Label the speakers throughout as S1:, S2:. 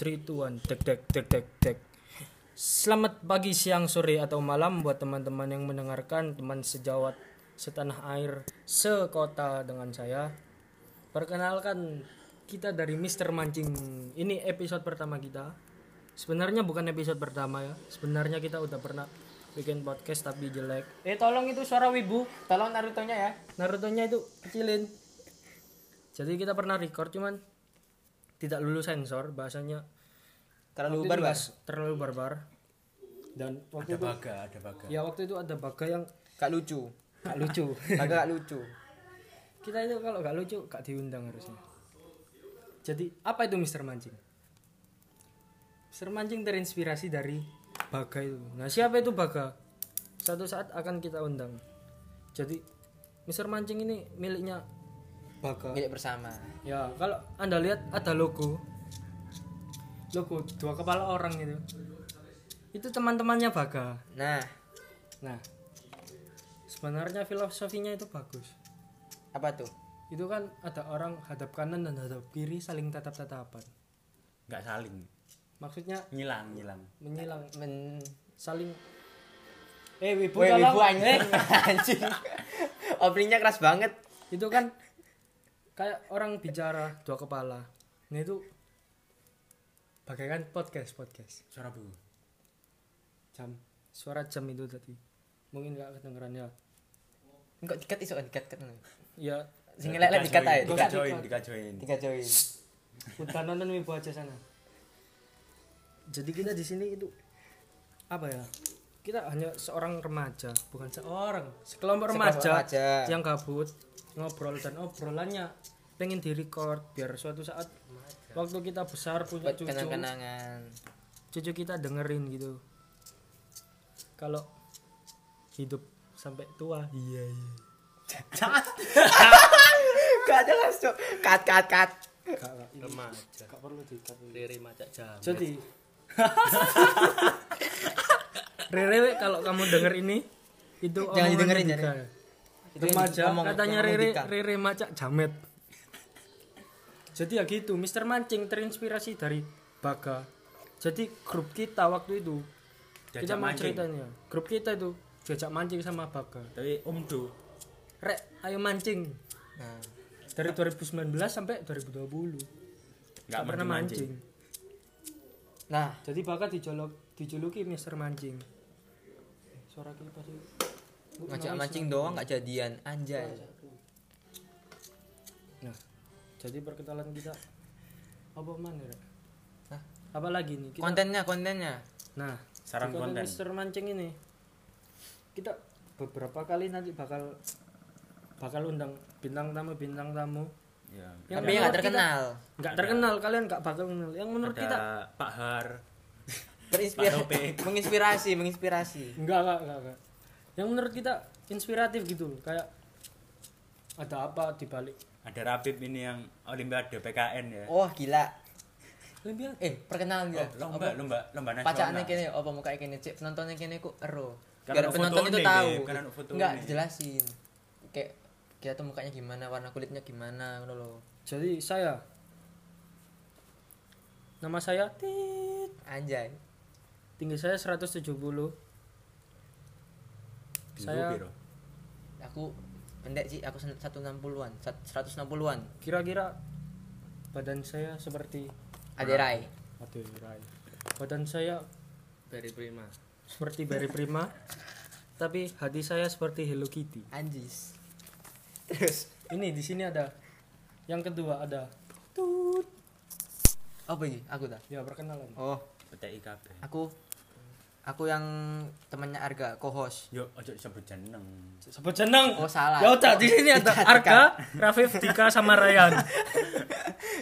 S1: 3, 2, 1, tek tek tek tek tek Selamat pagi, siang, sore, atau malam buat teman-teman yang mendengarkan teman sejawat, setanah air, sekota dengan saya. Perkenalkan kita dari Mr. Mancing. Ini episode pertama kita. Sebenarnya bukan episode pertama ya. Sebenarnya kita udah pernah bikin podcast tapi jelek. Eh tolong itu suara wibu.
S2: Tolong Naruto-nya ya.
S1: Naruto-nya itu kecilin. Jadi kita pernah record cuman tidak lulus sensor bahasanya Waktu
S2: Terlalu
S1: itu
S2: barbar.
S1: nggak- terlalu barbar. Dan waktu
S3: ada baga ada baga
S1: ya waktu itu ada baga yang
S2: Gak lucu.
S1: gak lucu.
S2: Agak lucu.
S1: Kita itu kalau gak lucu gak diundang harusnya. Jadi apa itu Mr. Mancing? Mr. Mancing terinspirasi dari Baga itu. Nah siapa itu Baga? Satu saat akan kita undang. Jadi Mr. Mancing ini miliknya Baga.
S2: Milik bersama.
S1: Ya, kalau Anda lihat ada logo. Logo dua kepala orang itu. Itu teman-temannya Baga.
S2: Nah,
S1: Nah, sebenarnya filosofinya itu bagus.
S2: apa tuh?
S1: Itu kan ada orang hadap kanan dan hadap kiri saling tatap-tatapan.
S3: nggak saling
S1: Maksudnya
S3: nyilang nyilang
S1: menyilang
S2: Men
S1: saling Eh, wibu
S2: Weh,
S1: tolong.
S2: wibu anjing. anjing. Openingnya keras banget.
S1: itu kan kayak orang bicara dua kepala. Nah, itu bagaikan podcast podcast.
S3: suara bu
S1: jam suara jam itu tadi mungkin nggak kedengeran ya
S2: Enggak dikat iso dikat kan.
S1: ya
S2: Sing ya, elek dikat ae, dikat.
S3: dikajoin dikajoin
S2: Tiga join.
S1: udah nonton wibu aja sana jadi kita di sini itu apa ya kita hanya seorang remaja bukan seorang sekelompok remaja,
S2: remaja.
S1: yang kabut ngobrol dan obrolannya pengen di record biar suatu saat waktu kita besar punya
S2: Buat
S1: cucu
S2: kenang-kenangan.
S1: cucu kita dengerin gitu kalau hidup sampai tua iya iya
S2: Gak ada langsung. Kat kat kat.
S1: gak, gak, ini
S3: remaja
S1: gak perlu diikat
S3: riri macak jam
S1: Jadi Rere kalau kamu denger ini itu
S2: Jangan
S1: omongan
S2: didengerin,
S1: Dika.
S2: jangan. Itu yang
S1: Remaja
S2: omong-
S1: katanya
S2: yang omong
S1: Rere
S2: Dika.
S1: Rere macak jamet. Jadi ya gitu, Mr. Mancing terinspirasi dari Baga. Jadi grup kita waktu itu
S3: Diajak
S1: kita mau
S3: mancing.
S1: ceritanya. Grup kita itu diajak mancing sama Baga.
S3: tapi oh, om Du,
S1: Rek, ayo mancing.
S2: Nah,
S1: Dari 2019 sampai 2020.
S3: nggak
S1: Gak pernah mancing.
S2: nah,
S1: Jadi bakal dijolok dijuluki Mister Mancing. Suara kipas itu.
S2: ngajak mancing doang gak jadian anjay.
S1: Nah, jadi perkenalan kita apa mana? Rek?
S2: Hah?
S1: Apa lagi nih? Kita,
S2: Kontennya, kontennya.
S1: nah,
S3: Sarang
S1: di
S3: konten.
S1: Mister Mancing ini kita beberapa kali nanti bakal bakal undang bintang tamu bintang tamu
S3: ya.
S1: Yang
S2: Tapi yang
S1: menurut
S2: gak terkenal.
S1: nggak terkenal kalian nggak bakal kenal yang menurut
S3: ada
S1: kita
S3: Pak Har Pak Topik.
S2: Berinspirasi, menginspirasi, menginspirasi.
S1: Enggak, enggak, enggak, enggak. Yang menurut kita inspiratif gitu loh, kayak ada apa di balik
S3: ada Rapib ini yang Olimpiade PKN ya
S2: Wah, Oh, gila.
S1: Olimpiade.
S2: Eh, perkenalan dia.
S3: lomba lomba lomba nasional
S2: Pacaknya kene apa mukanya kene cek penontonnya kene ku ero.
S3: Karena
S2: Biar
S3: no
S2: penonton
S3: fotone,
S2: itu
S3: Beb.
S2: tahu.
S3: Karena no fotone.
S2: Enggak dijelasin. Kayak kita tuh mukanya gimana, warna kulitnya gimana ngono loh.
S1: Jadi saya nama saya Tit.
S2: Anjay.
S1: Tinggi saya 170.
S3: Bintu
S1: saya
S3: Biro.
S2: Aku pendek sih, aku sen- 160-an, sat- 160-an.
S1: kira-kira badan saya seperti
S2: Aderai.
S1: aduh Rai. Badan saya
S2: Dari Prima.
S1: seperti Barry Prima, tapi hati saya seperti Hello Kitty.
S2: Anjis. Terus
S1: Ini di sini ada yang kedua ada
S2: apa ini? Aku dah.
S1: ya perkenalan.
S2: Oh,
S3: PTI KB
S2: aku aku yang temannya Arga co-host.
S3: yuk ojo disebut jeneng
S1: Sebut jeneng.
S2: Oh, salah.
S1: Ya udah di sini ada Arga, Rafif, Dika sama Ryan.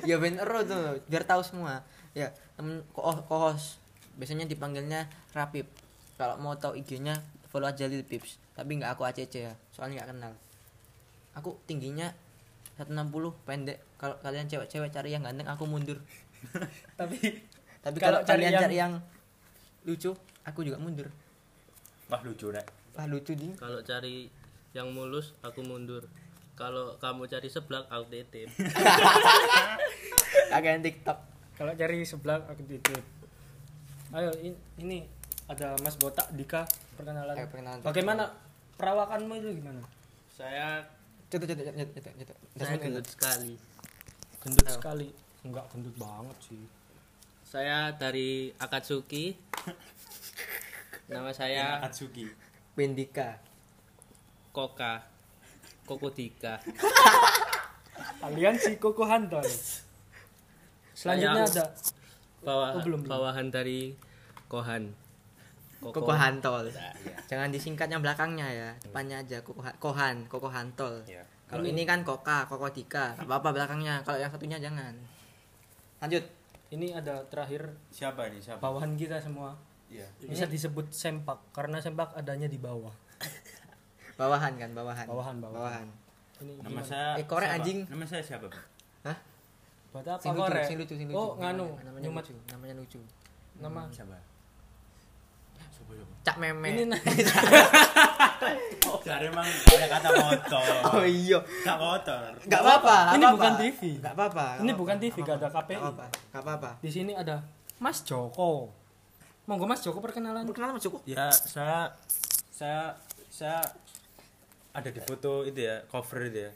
S2: ya ben ero tuh loh, biar tahu semua ya temen ko- kohos biasanya dipanggilnya rapip kalau mau tahu IG-nya follow aja Lil Pips tapi nggak aku ACC ya soalnya nggak kenal aku tingginya 160 pendek kalau kalian cewek-cewek cari yang ganteng aku mundur
S1: Tapi
S2: tapi
S1: Kalau
S2: kalau
S1: cari
S2: kalian
S1: yang-
S2: cari yang lucu aku juga mundur
S3: wah lucu rek
S2: wah lucu di
S4: Kalau cari yang mulus, aku mundur. Kalau kamu cari seblak, aku titip.
S2: kagak yang TikTok
S1: Kalau cari sebelah aku di tweet. Ayo in- ini ada Mas Botak Dika perkenalan.
S2: Ayo, perkenalan.
S1: Bagaimana perawakanmu itu gimana?
S4: Saya
S2: Cetek cetek cetek cetek cetek.
S4: saya gendut sekali.
S1: Gendut sekali. Enggak gendut banget sih.
S4: Saya dari Akatsuki. Nama
S2: Ya.
S4: saya
S3: Atsuki
S2: Pendika.
S4: Koka. Kokodika.
S1: Aliansi Koko Hantai. Selanjutnya
S4: Saya-
S1: ada
S4: Bawah,
S1: Oh, belum, belum.
S4: bawahan dari Kohan. Koko-
S2: Koko Hantol.
S1: Nah, iya.
S2: Jangan disingkat yang belakangnya ya, depannya aja Koko Ha- Kohan, Koko Hantol.
S3: Iya.
S2: Kalau ini kan Koka, Koko Dika, Nggak apa-apa belakangnya. Kalau yang satunya jangan. Lanjut.
S1: ini ada terakhir
S3: siapa ini siapa
S1: bawahan kita semua.
S3: iya
S1: Bisa disebut sempak karena sempak adanya di bawah.
S2: Bawahan kan, bawahan.
S1: Bawahan, bawahan. Ini
S3: nama
S1: gimana?
S3: saya
S2: Eh, korek,
S3: siapa?
S2: anjing.
S3: nama saya siapa Bang?
S2: Hah?
S1: Buat apa
S2: Sing lucu,
S1: korek?
S2: sing lucu, sing lucu.
S1: Oh, nganu.
S2: Namanya- Namanya
S1: Nyumat
S2: lucu, namanya lucu.
S1: nama.
S3: siapa siapa siapa
S2: Cak Meme.
S1: Ini nah,
S3: oh dari emang ada kata kotor
S2: Oh iya.
S3: kata kotor
S2: Enggak apa-apa.
S1: Ini
S2: nggak
S1: bukan
S2: apa-apa.
S1: TV.
S2: Nggak apa-apa. nggak
S1: Ini
S2: apa-apa,
S1: bukan TV,
S2: nggak
S1: nggak ada
S2: apa-apa,
S1: KPI.
S2: nggak apa-apa, Nggak apa-apa.
S1: di sini ada Mas Joko. Monggo Mas Joko perkenalan.
S2: Perkenalan Mas Joko.
S3: ya saya saya saya ada di foto itu ya cover itu ya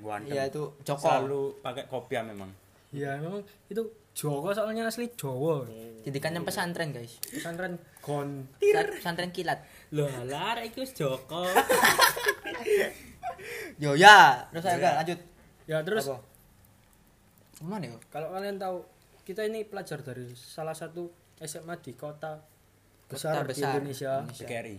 S3: Ganteng.
S2: Iya itu Joko.
S3: selalu pakai kopiah memang
S1: Ya memang itu Joko soalnya asli Jawa.
S2: Didikannya pesantren, guys.
S1: Pesantren Gon.
S2: Pesantren kilat.
S4: Loh, lar iku Joko.
S2: Yo ya, terus saya enggak lanjut.
S1: Ya terus
S2: Apa? Gimana ya?
S1: kalau kalian tahu kita ini pelajar dari salah satu SMA di kota besar, di
S2: besar.
S1: Indonesia.
S3: BKRI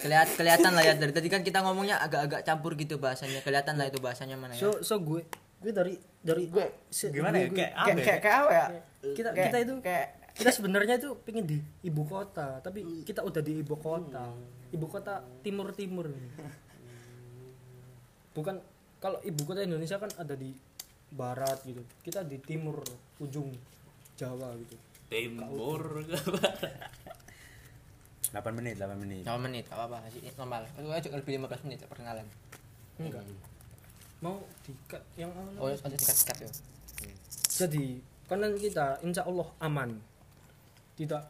S2: Kelihat kelihatan lah ya dari tadi kan kita ngomongnya agak-agak campur gitu bahasanya. Kelihatan lah itu bahasanya mana ya.
S1: So so gue gue dari dari gue
S3: gimana ya kayak apa ya?
S2: apa ya?
S1: kita kita itu kita sebenarnya itu pengen di ibu kota tapi kita udah di ibu kota ibu kota timur timur bukan kalau ibu kota Indonesia kan ada di barat gitu kita di timur ujung Jawa gitu
S4: Timur.
S3: 8 menit 8 menit
S2: 8 menit, gak apa-apa, masih normal. Itu aja lebih 15 menit perkenalan.
S1: enggak mau dikat yang awal
S2: Hmm. Oh, ada sikat-sikat ya.
S1: jadi konon kita insya Allah aman tidak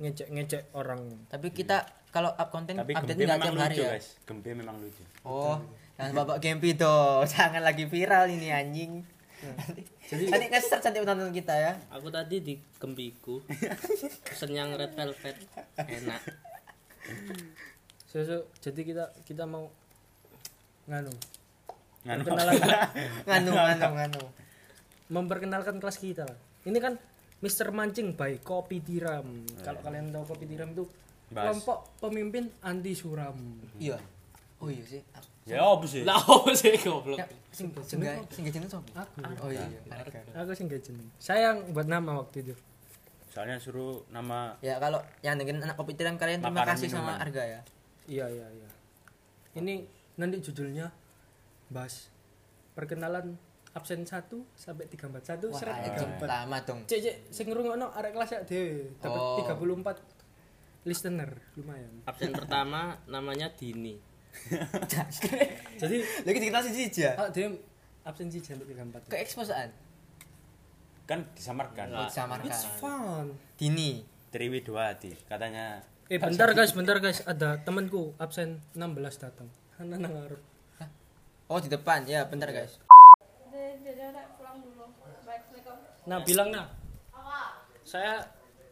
S1: ngecek ngecek orang
S2: Tapi kita kalau up konten
S3: tapi
S2: update
S3: gempi
S2: enggak
S3: memang
S2: tiap hari
S3: lucu
S2: ya.
S3: guys gempi memang lucu
S2: Oh, jangan bapak Gempi dong. Jangan lagi viral ini anjing. Jadi nanti nge-search nanti penonton kita ya.
S4: Aku tadi di kempiku. Senyang red velvet. Enak.
S1: so, so, jadi kita kita mau nganu
S3: nganu
S2: Nganu nganu nganu.
S1: memperkenalkan kelas kita. Ini kan Mr. Mancing by Kopi Tiram.
S2: Oh, iya.
S1: Kalau kalian tahu Kopi Tiram itu
S3: Bahas.
S1: kelompok pemimpin anti suram.
S2: Iya. Oh iya sih. Aku-
S3: ya apa sih
S4: Lah opo sih goblok?
S2: Ya, sing sing sing jeneng sapa?
S1: Aku.
S2: Oh iya. iya. Arga.
S1: Aku sing gak jeneng. Saya yang buat nama waktu itu.
S3: soalnya suruh nama
S2: Ya kalau yang dengerin anak kopi tiram kalian terima
S3: Makanan
S2: kasih sama
S3: minuman.
S2: Arga ya.
S1: Iya, iya, iya. Ini nanti judulnya bahas perkenalan absen 1 sampai 341
S2: Wah,
S1: seret
S2: anjing, lama dong.
S1: Cek cek sing ngrungokno arek kelas ya dhewe dapat
S2: Oh.
S1: 34 listener lumayan.
S4: Absen pertama namanya Dini.
S1: Jadi
S2: Lagi dikenal si Jija.
S1: ah, dhewe absen siji sampai 34.
S2: Ke exposean.
S3: kan disamarkan
S4: Enggak.
S1: It's
S2: Disamarkan.
S1: fun.
S2: Dini.
S3: Triwi dua hati katanya
S1: Eh bentar guys, bentar guys, ada temanku absen 16 datang. Hana nang ngarep.
S2: Oh di depan ya, bentar guys.
S1: Nah, bilang nah. Saya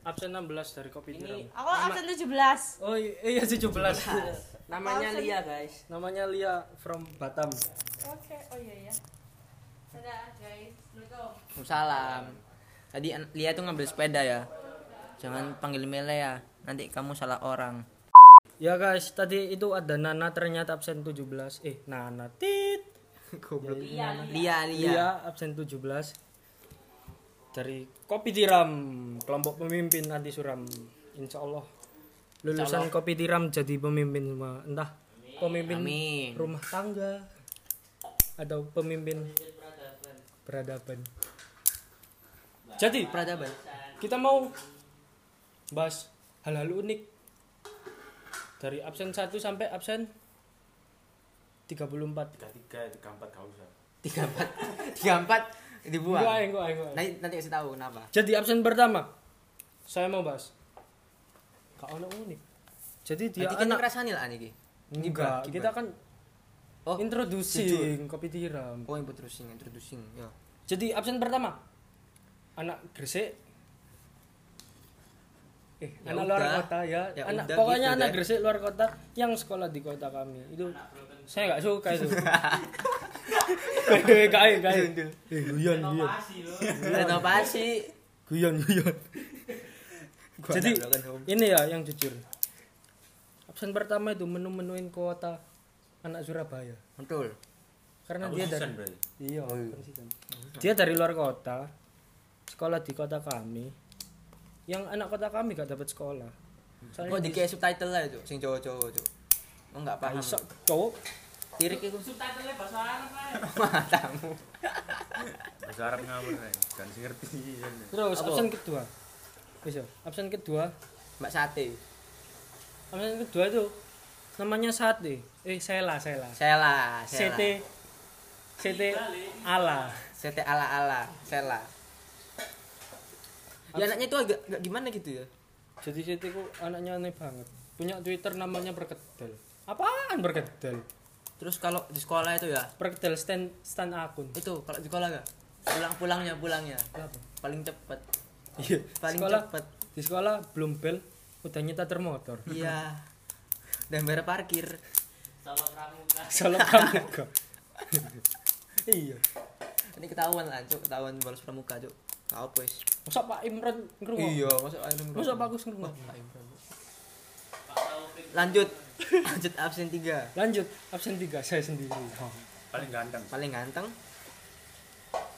S1: absen 16 dari Kopi Tiram.
S5: Aku absen 17.
S1: Oh i- iya 17.
S4: Namanya Lia, guys.
S1: Namanya Lia from Batam.
S5: Oke, oh iya ya. Dadah guys. Assalamualaikum.
S2: Salam. Tadi an- Lia tuh ngambil sepeda ya. Jangan panggil Mele ya. Nanti kamu salah orang.
S1: Ya guys, tadi itu ada Nana ternyata absen 17. Eh, Nana tit. Goblok. Iya.
S2: Lia, Lia.
S1: Lia absen 17 dari Kopi Tiram, kelompok pemimpin anti suram. Insya Allah lulusan Kopi Tiram jadi pemimpin semua. Entah pemimpin
S2: Amin.
S1: rumah tangga atau pemimpin peradaban. Jadi
S2: Peradaban.
S1: kita mau bahas hal-hal unik dari absen 1 sampai absen 34.
S3: tiga tiga tiga empat gak usah
S2: 34. 34. dibuang.
S1: Gua aing, gua aing, gua aing.
S2: Nanti nanti kasih tahu kenapa.
S1: Jadi absen pertama. Saya mau bahas. Kak ono unik. Jadi dia
S2: Nanti kita
S1: anak
S2: ngerasani lah niki.
S1: enggak.
S2: gibah.
S1: Kita kan
S2: Oh,
S1: introducing kopi tiram.
S2: Oh, introducing, introducing. ya. Yo.
S1: Jadi absen pertama. Anak Gresik. Eh,
S2: Ya
S1: anak
S2: udah.
S1: luar kota ya.
S2: Ya
S1: anak
S2: udah,
S1: pokoknya
S2: gitu
S1: anak
S2: deh.
S1: Gresik luar kota yang sekolah di kota kami. Itu saya nggak suka itu. Kayak
S2: Iya,
S1: kayak. Eh, guyon guyon.
S2: Renovasi.
S1: Iya. Guyon guyon. Jadi
S2: kan,
S1: ini ya yang jujur. Absen pertama itu menu-menuin kota anak Surabaya.
S2: betul.
S1: Karena
S3: Aku
S1: dia dari
S3: season berarti.
S1: Iya, konsisten. Dia dari luar kota, sekolah di kota kami. Yang anak kota kami gak dapat sekolah. Soalnya
S2: Oh, dikasih subtitle lah itu, sing cowok-cowok itu. Oh, enggak paham.
S1: iso cowok
S2: Tirik itu
S5: Subtitlenya bahasa Arab aja.
S2: matamu.
S3: Bahasa Arab ngawur nih, kan sih ngerti. Ian.
S1: terus
S2: Apa?
S1: absen kedua. Bisa. Absen kedua,
S2: Mbak sate.
S1: absen kedua itu namanya sate. Eh, sela, sela.
S2: Sela, sela.
S1: CT CT ala.
S2: Sete ala-ala, sela. Ya anaknya itu agak agak gimana gitu ya?
S1: Jadi CT ku anaknya aneh banget. Punya Twitter namanya Berkedel. Apaan Berkedel?
S2: Terus kalau di sekolah itu ya,
S1: Berkedel stand stand akun.
S2: itu kalau di sekolah enggak pulang pulangnya pulangnya
S1: Apa?
S2: paling cepet
S1: Iya.
S2: paling
S1: Sekolah-
S2: cepet
S1: di sekolah belum bel udah nyita termotor
S2: iya dan bayar parkir
S1: solo pramuka iya
S2: ini ketahuan lah cuk ketahuan bolos pramuka cuk Nggak apa wis
S1: masa pak Imran ngerungok
S2: iya masuk air lumrah.
S1: masa pak Agus ngerungok
S2: Wah, air lumrah. lanjut lanjut absen tiga
S1: lanjut absen tiga saya sendiri
S3: Paling ganteng.
S2: paling ganteng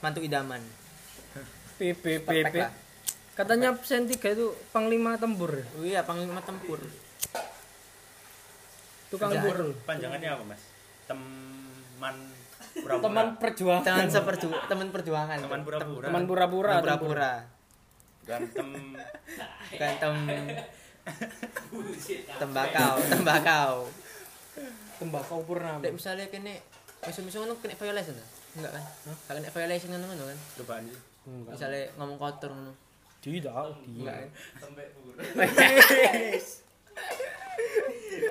S2: mantu idaman
S1: PPPP
S2: Perfect lah.
S1: katanya absen tiga itu panglima tempur ya?
S2: oh iya panglima tempur
S1: tukang
S2: Kerjaan.
S1: burung
S3: Panjangannya apa, Mas? Teman pura-pura.
S1: teman perjuangan
S2: teman seperju teman perjuangan
S3: teman pura-pura.
S1: teman pura-pura
S2: Teman pura-pura
S3: Gantem.
S2: bukan tem
S3: ah.
S2: tembakau tembakau
S1: tempur. tembakau purnama
S2: Lek misalnya kene mesum-mesum ngono kena violation ta? Enggak kan? Enggak kena violation ngono ngono kan?
S3: Cobaan sih.
S1: Enggak.
S2: Misalnya ngomong kotor ngono.
S1: tidak
S2: Enggak
S1: dia
S2: kan?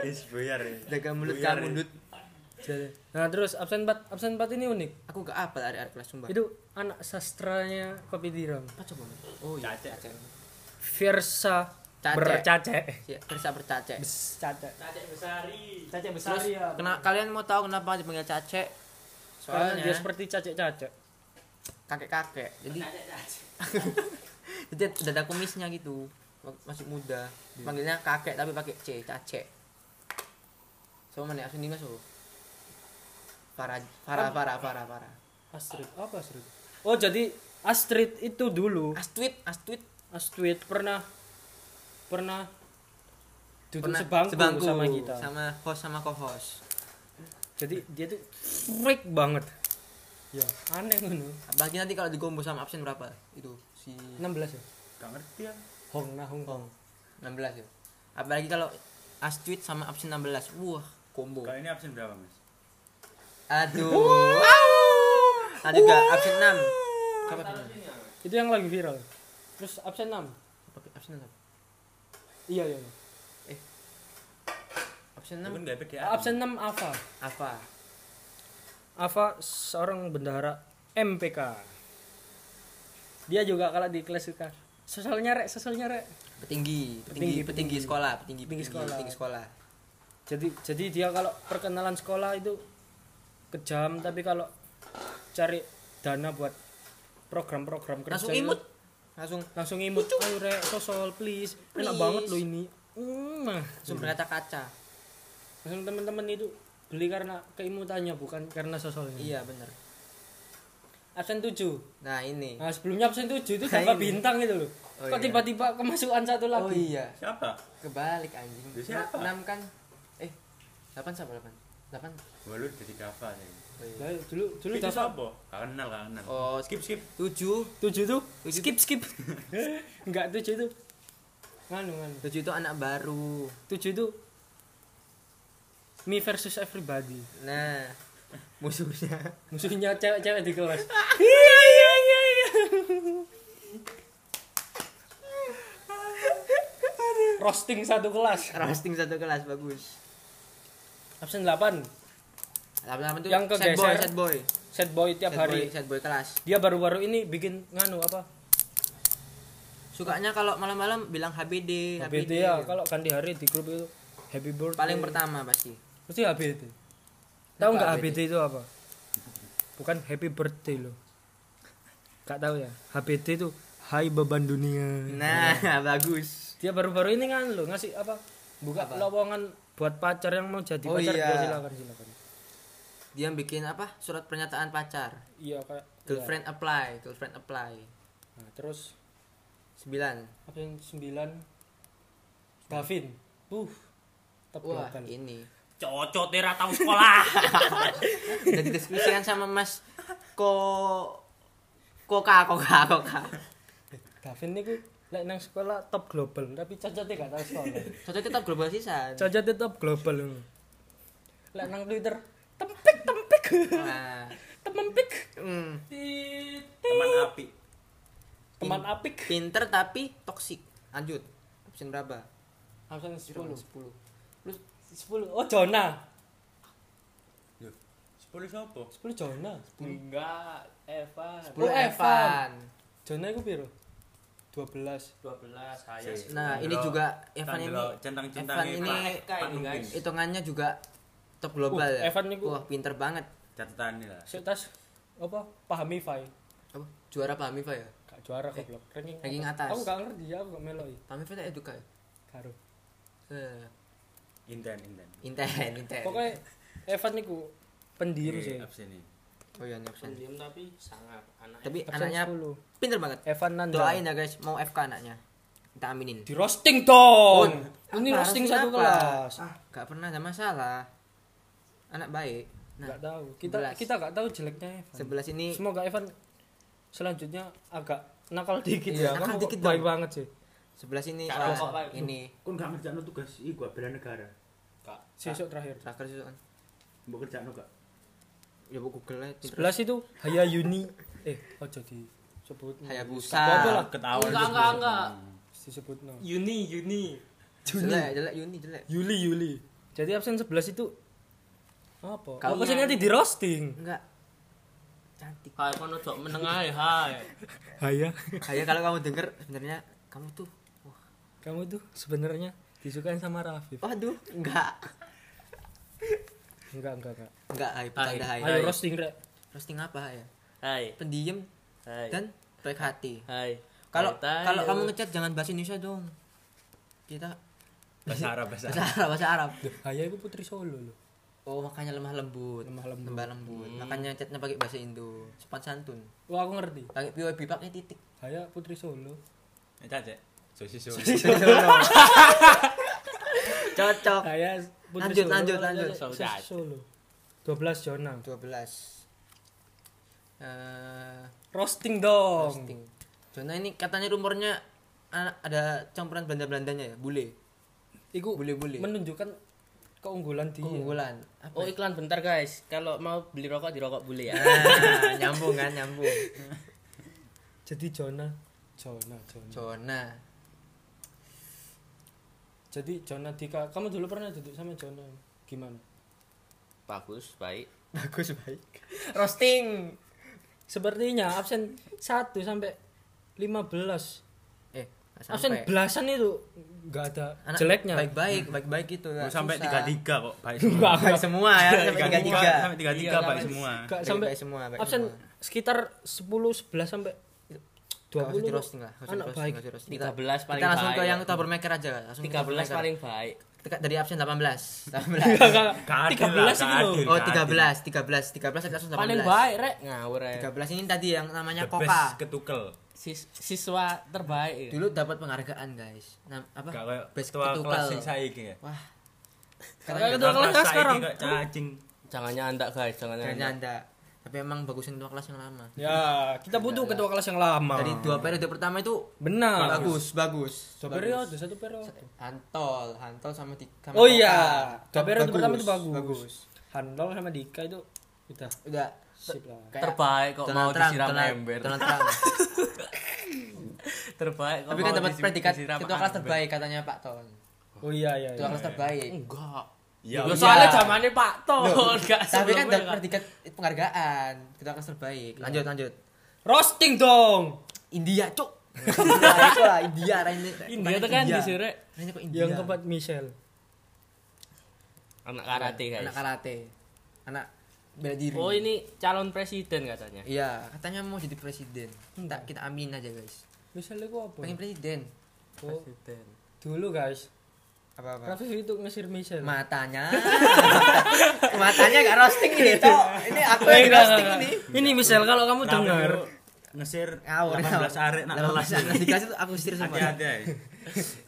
S3: Is buyar ya.
S2: Jaga mulut
S3: Buyar
S2: kamu
S3: ya.
S2: dut.
S1: Jadi- nah terus absen empat absen empat ini unik
S2: Aku gak apa dari arek kelas sumpah.
S1: itu anak sastranya kopi tiram
S2: apa coba? Mas? Oh iya.
S3: Cacek.
S2: Cacek.
S1: Fiersa
S2: Cacek.
S1: bercacek
S2: Iya, bisa bercacek.
S1: Bes- cacek
S5: Cacek besari.
S1: cacek besar
S2: Terus kena kalian mau tahu kenapa dipanggil cacek?
S1: Karena
S2: Soalnya
S1: dia seperti cacek-cacek.
S2: kakek-kakek. Jadi
S5: Cacek.
S2: jadi ada- ada kumisnya gitu. Wak- Masih muda. Panggilnya kakek tapi pakai C, cacek. Sama mana? Asli enggak so. Para para para para para.
S1: Astrid, apa Astrid? Oh, jadi Astrid itu dulu
S2: Astuit, astuit.
S1: Astrid pernah pernah duduk
S2: Pernah
S1: sebangku, sama kita.
S2: sama host sama co-host
S1: Jadi dia tuh freak banget. Ya, aneh ngono.
S2: apalagi nanti kalau digombo sama absen berapa itu si
S1: 16 ya.
S3: Gak ngerti ya.
S1: Hong nah Hong Kong.
S2: 16 ya apalagi kalau astuit sama absen 16 wah combo
S3: Kali ini absen berapa, Mas?
S2: aduh ada juga absen 6 apa absen
S1: Itu yang lagi viral. Terus absen 6.
S2: 6 Apa- absen 6
S1: Iya, iya. iya.
S2: absen
S3: Itu kan
S2: 6
S3: gak PDA.
S1: Absen 6 Ava.
S2: apa
S1: Ava seorang bendahara MPK. Dia juga kalau di kelas suka. Sosalnya rek, sosalnya rek. Petinggi,
S2: petinggi petinggi
S1: petinggi.
S2: petinggi sekolah petinggi
S1: Petinggi
S2: petinggi
S1: sekolah.
S2: sekolah petinggi sekolah
S1: jadi jadi dia kalau perkenalan sekolah itu kejam tapi kalau cari dana buat program-program kerja
S2: langsung
S1: itu
S2: imut langsung
S1: langsung imut ayo rek sosol please. enak
S2: Please.
S1: banget lo ini Mm, nah.
S2: langsung berkaca-kaca
S1: langsung teman-teman itu beli karena keimutannya bukan karena sosolnya
S2: iya bener
S1: absen 7
S2: nah ini
S1: nah sebelumnya absen 7 itu
S2: Nah,
S1: tanpa
S2: ini.
S1: bintang gitu loh
S2: Oh,
S1: kok
S2: iya.
S1: tiba-tiba kemasukan satu lagi
S2: oh iya
S3: Siapa?
S2: Kebalik anjing.
S3: Lu siapa?
S2: 6 kan. Eh, 8 sama 8. 8.
S3: Walu jadi kafa sih.
S1: Lah, dulu dulu
S3: Itu
S1: dapat
S3: siapa? Gak kenal, gak kenal.
S2: Oh,
S3: skip skip.
S2: 7.
S1: 7 tuh
S2: Tujuh
S1: skip skip enggak 7 itu nganu nganu
S2: 7 itu anak baru.
S1: 7 itu me versus everybody
S2: Nah, musuhnya
S1: musuhnya cewek-cewek di kelas Iya, roasting satu kelas
S2: roasting satu kelas bagus
S1: absen 8
S2: lama-lama tuh
S1: Yang
S2: sad boy
S1: kegeser
S2: sad boy
S1: set boy tiap
S2: Sad boy,
S1: hari
S2: sad boy kelas
S1: dia baru-baru ini bikin nganu apa
S2: sukanya kalau malam-malam bilang HBD
S1: HBT ya kalau ganti hari di grup itu happy birthday
S2: paling pertama pasti
S1: pasti HBT tahu nggak
S2: HBT?
S1: HBT itu apa bukan happy birthday loh nggak tahu ya HBT itu Hai beban dunia
S2: nah
S1: iya.
S2: bagus
S1: dia baru-baru ini kan lo ngasih apa buka lowongan buat pacar yang mau jadi
S2: Oh
S1: pacar
S2: iya.
S1: dia silakan silakan
S2: dia bikin apa surat pernyataan pacar
S1: iya kayak
S2: girlfriend apply girlfriend apply
S1: iya. Nah, terus
S2: sembilan
S1: apa yang sembilan Davin uh
S2: wah
S1: tebak
S2: ini
S4: Cocok tera tahu sekolah.
S2: udah didiskusikan sama mas ko koka koka koka
S1: Davin niku lek nang sekolah top global tapi cacatnya gak tau sekolah
S2: Soalnya tetap global sisan
S1: cacatnya top global ngono. lek nang Twitter tempik tempik
S2: nah
S1: temempik
S2: mm,
S1: Tit.
S3: teman api
S1: teman apik
S2: pinter tapi toksik lanjut option berapa
S1: absen 10
S2: sepuluh
S1: 10 oh Jona
S3: 10 siapa?
S1: 10 Jona
S4: Enggak, Evan.
S2: sepuluh
S1: Oh,
S2: Evan
S1: Jona iku piro 12
S4: 12 saya.
S2: nah ini juga Evan ini
S3: centang
S2: Evan ini hitungannya juga top global
S1: Uh,
S2: ya
S1: Evan nih gua.
S2: wah pinter banget
S3: catatan ini lah
S1: Sik tas apa pahami fai
S2: apa juara Pak Mifa ya
S1: gak juara goblok ranking
S2: ranking atas.
S1: aku gak ngerti ya, aku gak meloi
S2: Pak Mifa tak eduka ya
S1: karo
S2: Eh,
S3: inten inten
S2: inten inten
S1: Eh, pokoknya Evan niku pendiri sih
S3: Oke, absen ini
S2: oh iya nih option
S4: Pendiam tapi sangat anak.
S2: tapi
S1: Absen
S2: anaknya
S1: 10.
S2: pinter banget
S1: Evan Nanda
S2: doain ya guys mau FK anaknya kita aminin
S1: di roasting dong
S2: Oh,
S1: ini
S2: apa?
S1: roasting
S2: Roasting
S1: satu
S2: apa?
S1: kelas
S2: gak pernah ada masalah anak baik nah
S1: nggak tahu kita
S2: sebelas.
S1: kita nggak tahu jeleknya Evan
S2: sebelas ini
S1: semoga Evan selanjutnya agak nakal dikit ya
S2: Iya, nakal
S1: kamu
S2: dikit
S1: kok baik
S2: dong.
S1: banget sih
S2: sebelas ini
S4: Cara
S2: wah,
S4: kok, Pak.
S2: ini
S6: Kon gak ngerjakno tugas iku gua bela negara.
S4: Kak.
S2: Nah.
S1: sesok terakhir
S2: terakhir itu kan
S6: Mbok kerjakno gak?
S2: ya bu Google aja pinter.
S1: 11 itu Haya Yuni eh ojo disebut
S2: Hayabusa
S1: Apa-apa lah.
S3: ketahuan Hmm. itu
S4: Enggak, enggak,
S3: sebelum.
S4: enggak.
S1: disebut no
S4: Uni, Uni.
S2: jelek jelek Yuni jelek
S1: Yuli Yuli. Jadi absen 11 itu apa?
S2: Kau
S1: Apa sih
S2: yang-
S1: nanti di roasting?
S2: enggak cantik
S4: Hai, kono dok menengah ya, hai.
S1: Haya.
S2: kayak kalau kamu denger sebenarnya kamu tuh wah,
S1: Kamu tuh sebenarnya disukain sama Rafif.
S2: waduh enggak
S1: Enggak, enggak, enggak.
S2: enggak hai bercanda hai
S1: Ayo roasting, Rek.
S2: roasting apa ya
S4: Hai.
S2: pendiam
S4: Hai.
S2: dan baik hati
S4: hai.
S2: kalau
S4: Hai, tayo.
S2: kalau kamu ngechat jangan bahasa Indonesia dong kita
S3: bahasa Arab bahasa
S2: bahasa
S3: Arab
S2: Arab bahasa Arab
S1: Haya itu putri Solo loh.
S2: oh makanya lemah lembut
S1: Lemah lembut.
S2: Lembah lembut. makanya chatnya pakai bahasa Indo sopan santun
S1: Wah, aku ngerti.
S2: pakai PWB pakai titik
S1: Haya putri Solo.
S3: Eh, cacek sosis sosis
S2: cocok
S1: Haya putri
S2: Lanjut,
S1: Solo.
S2: lanjut,
S1: Haya
S2: lanjut.
S1: Putri Solo. 12 Jona.
S2: 12 eh
S1: Roasting dong.
S2: roasting Jona ini katanya rumornya ah, ada campuran Belanda-Belandanya ya bule
S1: Iku
S2: Boleh-boleh.
S1: menunjukkan keunggulan dia.
S2: keunggulan apa
S4: Oh iklan bentar guys, kalau mau beli rokok di rokok boleh ya.
S2: Nah, nyambung kan nyambung
S1: Jadi Jona, Jona, Jona.
S2: Jona
S1: Jadi Jona Dika, kamu dulu pernah duduk sama Jona. Gimana?
S4: Bagus, baik.
S2: bagus baik
S1: roasting sepertinya absen 1 sampai 15
S2: eh nggak
S1: absen
S2: sampai.
S1: belasan itu nggak ada
S2: Anak
S1: jeleknya
S2: baik-baik baik-baik gitu ya
S3: Mau sampai tiga tiga kok baik
S1: Enggak,
S2: baik semua ya sampai tiga tiga
S3: sampai tiga tiga baik semua
S1: nggak sampai
S2: baik semua baik
S1: absen
S2: semua.
S1: sekitar 10 11 sampai
S2: Nggak
S1: 20
S2: usah di roasting lah nggak usah di
S1: anak
S2: roasting,
S1: baik
S2: nggak usah di roasting.
S4: 13
S2: kita,
S4: paling
S2: kita langsung ke
S4: baik.
S2: yang tabermaker aja langsung ke
S4: 13
S2: Tabermaker.
S4: paling baik.
S2: Teka- dari absen 18
S1: Nggak,
S2: 18
S1: nggak, nggak.
S3: Keadilan,
S1: 13 itu loh
S3: keadilan.
S2: oh 13 13 13 tadi langsung 18
S4: Paling baik, Rek. Ngawur ya.
S2: 13 ini tadi yang namanya
S3: the best
S2: Koka
S3: ketukel
S4: Sis- siswa terbaik. ya.
S2: dulu dapat penghargaan guys Nam, apa
S3: gak kayak
S2: Best
S3: ketua
S2: ketukel.
S3: kelas yang saya ini ya
S2: wah
S4: Kakak
S2: sekarang
S4: ketua kelas kan sekarang.
S3: kayak cacing
S4: Jangan nyandak guys, jangan
S2: kayaknya
S4: nyandak.
S2: anda tapi emang bagusin ketua kelas yang lama
S1: ya kita butuh ketua kelas yang lama
S2: dari dua periode pertama itu
S1: benar
S2: bagus bagus
S1: dua
S2: Bagus.
S1: periode satu periode
S2: Hantol, Hantol sama di sama
S1: oh
S2: Koka.
S1: iya dua periode pertama itu bagus
S2: bagus.
S1: handal sama Dika itu Udah,
S2: udah
S1: sip lah.
S2: kayak
S7: terbaik kok
S2: Donald
S7: mau
S2: Trump,
S7: disiram
S2: Donald-
S7: ember
S2: Donald Trump.
S7: terbaik kok
S2: tapi kan
S7: mau
S2: dapat
S7: disi-
S2: predikat
S7: disiram
S2: ketua kelas
S7: ember.
S2: terbaik katanya Pak Ton
S1: Oh iya iya.
S2: ketua
S1: iya.
S2: kelas terbaik
S4: Hmm.
S7: enggak
S3: Ya,
S7: Ya,
S3: wis.
S7: soalnya zamannya Pak Ton enggak
S2: Iya. tapi kan dapat
S7: sebelumnya enggak.
S2: predikat penghargaan ketua kelas terbaik lanjut lanjut
S1: Roasting dong.
S2: India cuk India itu lah India arah ini
S4: Iya,
S7: India tuh kan disuruh
S2: Arahnya kok India
S1: Yang keempat Michelle.
S4: anak karate guys
S2: anak karate anak bela diri
S4: oh ini calon presiden katanya
S2: iya katanya mau jadi presiden tak kita amin aja guys
S1: Michelle itu apa?
S2: pengen presiden
S1: Oh, dulu guys.
S2: apa apa
S1: Rafif itu ngesir Michelle.
S2: matanya matanya gak roasting ini cok ini aku yang di
S1: Enggak,
S2: roasting
S1: enggak,
S2: ini
S1: enggak. Ini Michelle kalau kamu
S3: Rame
S1: dengar
S3: lu ngesir
S2: Ngawur,
S3: 18
S2: ngawur.
S3: arek nak
S2: 18
S3: kelas.
S2: anak di kelas itu aku stir semua
S3: Hati-hati. ay.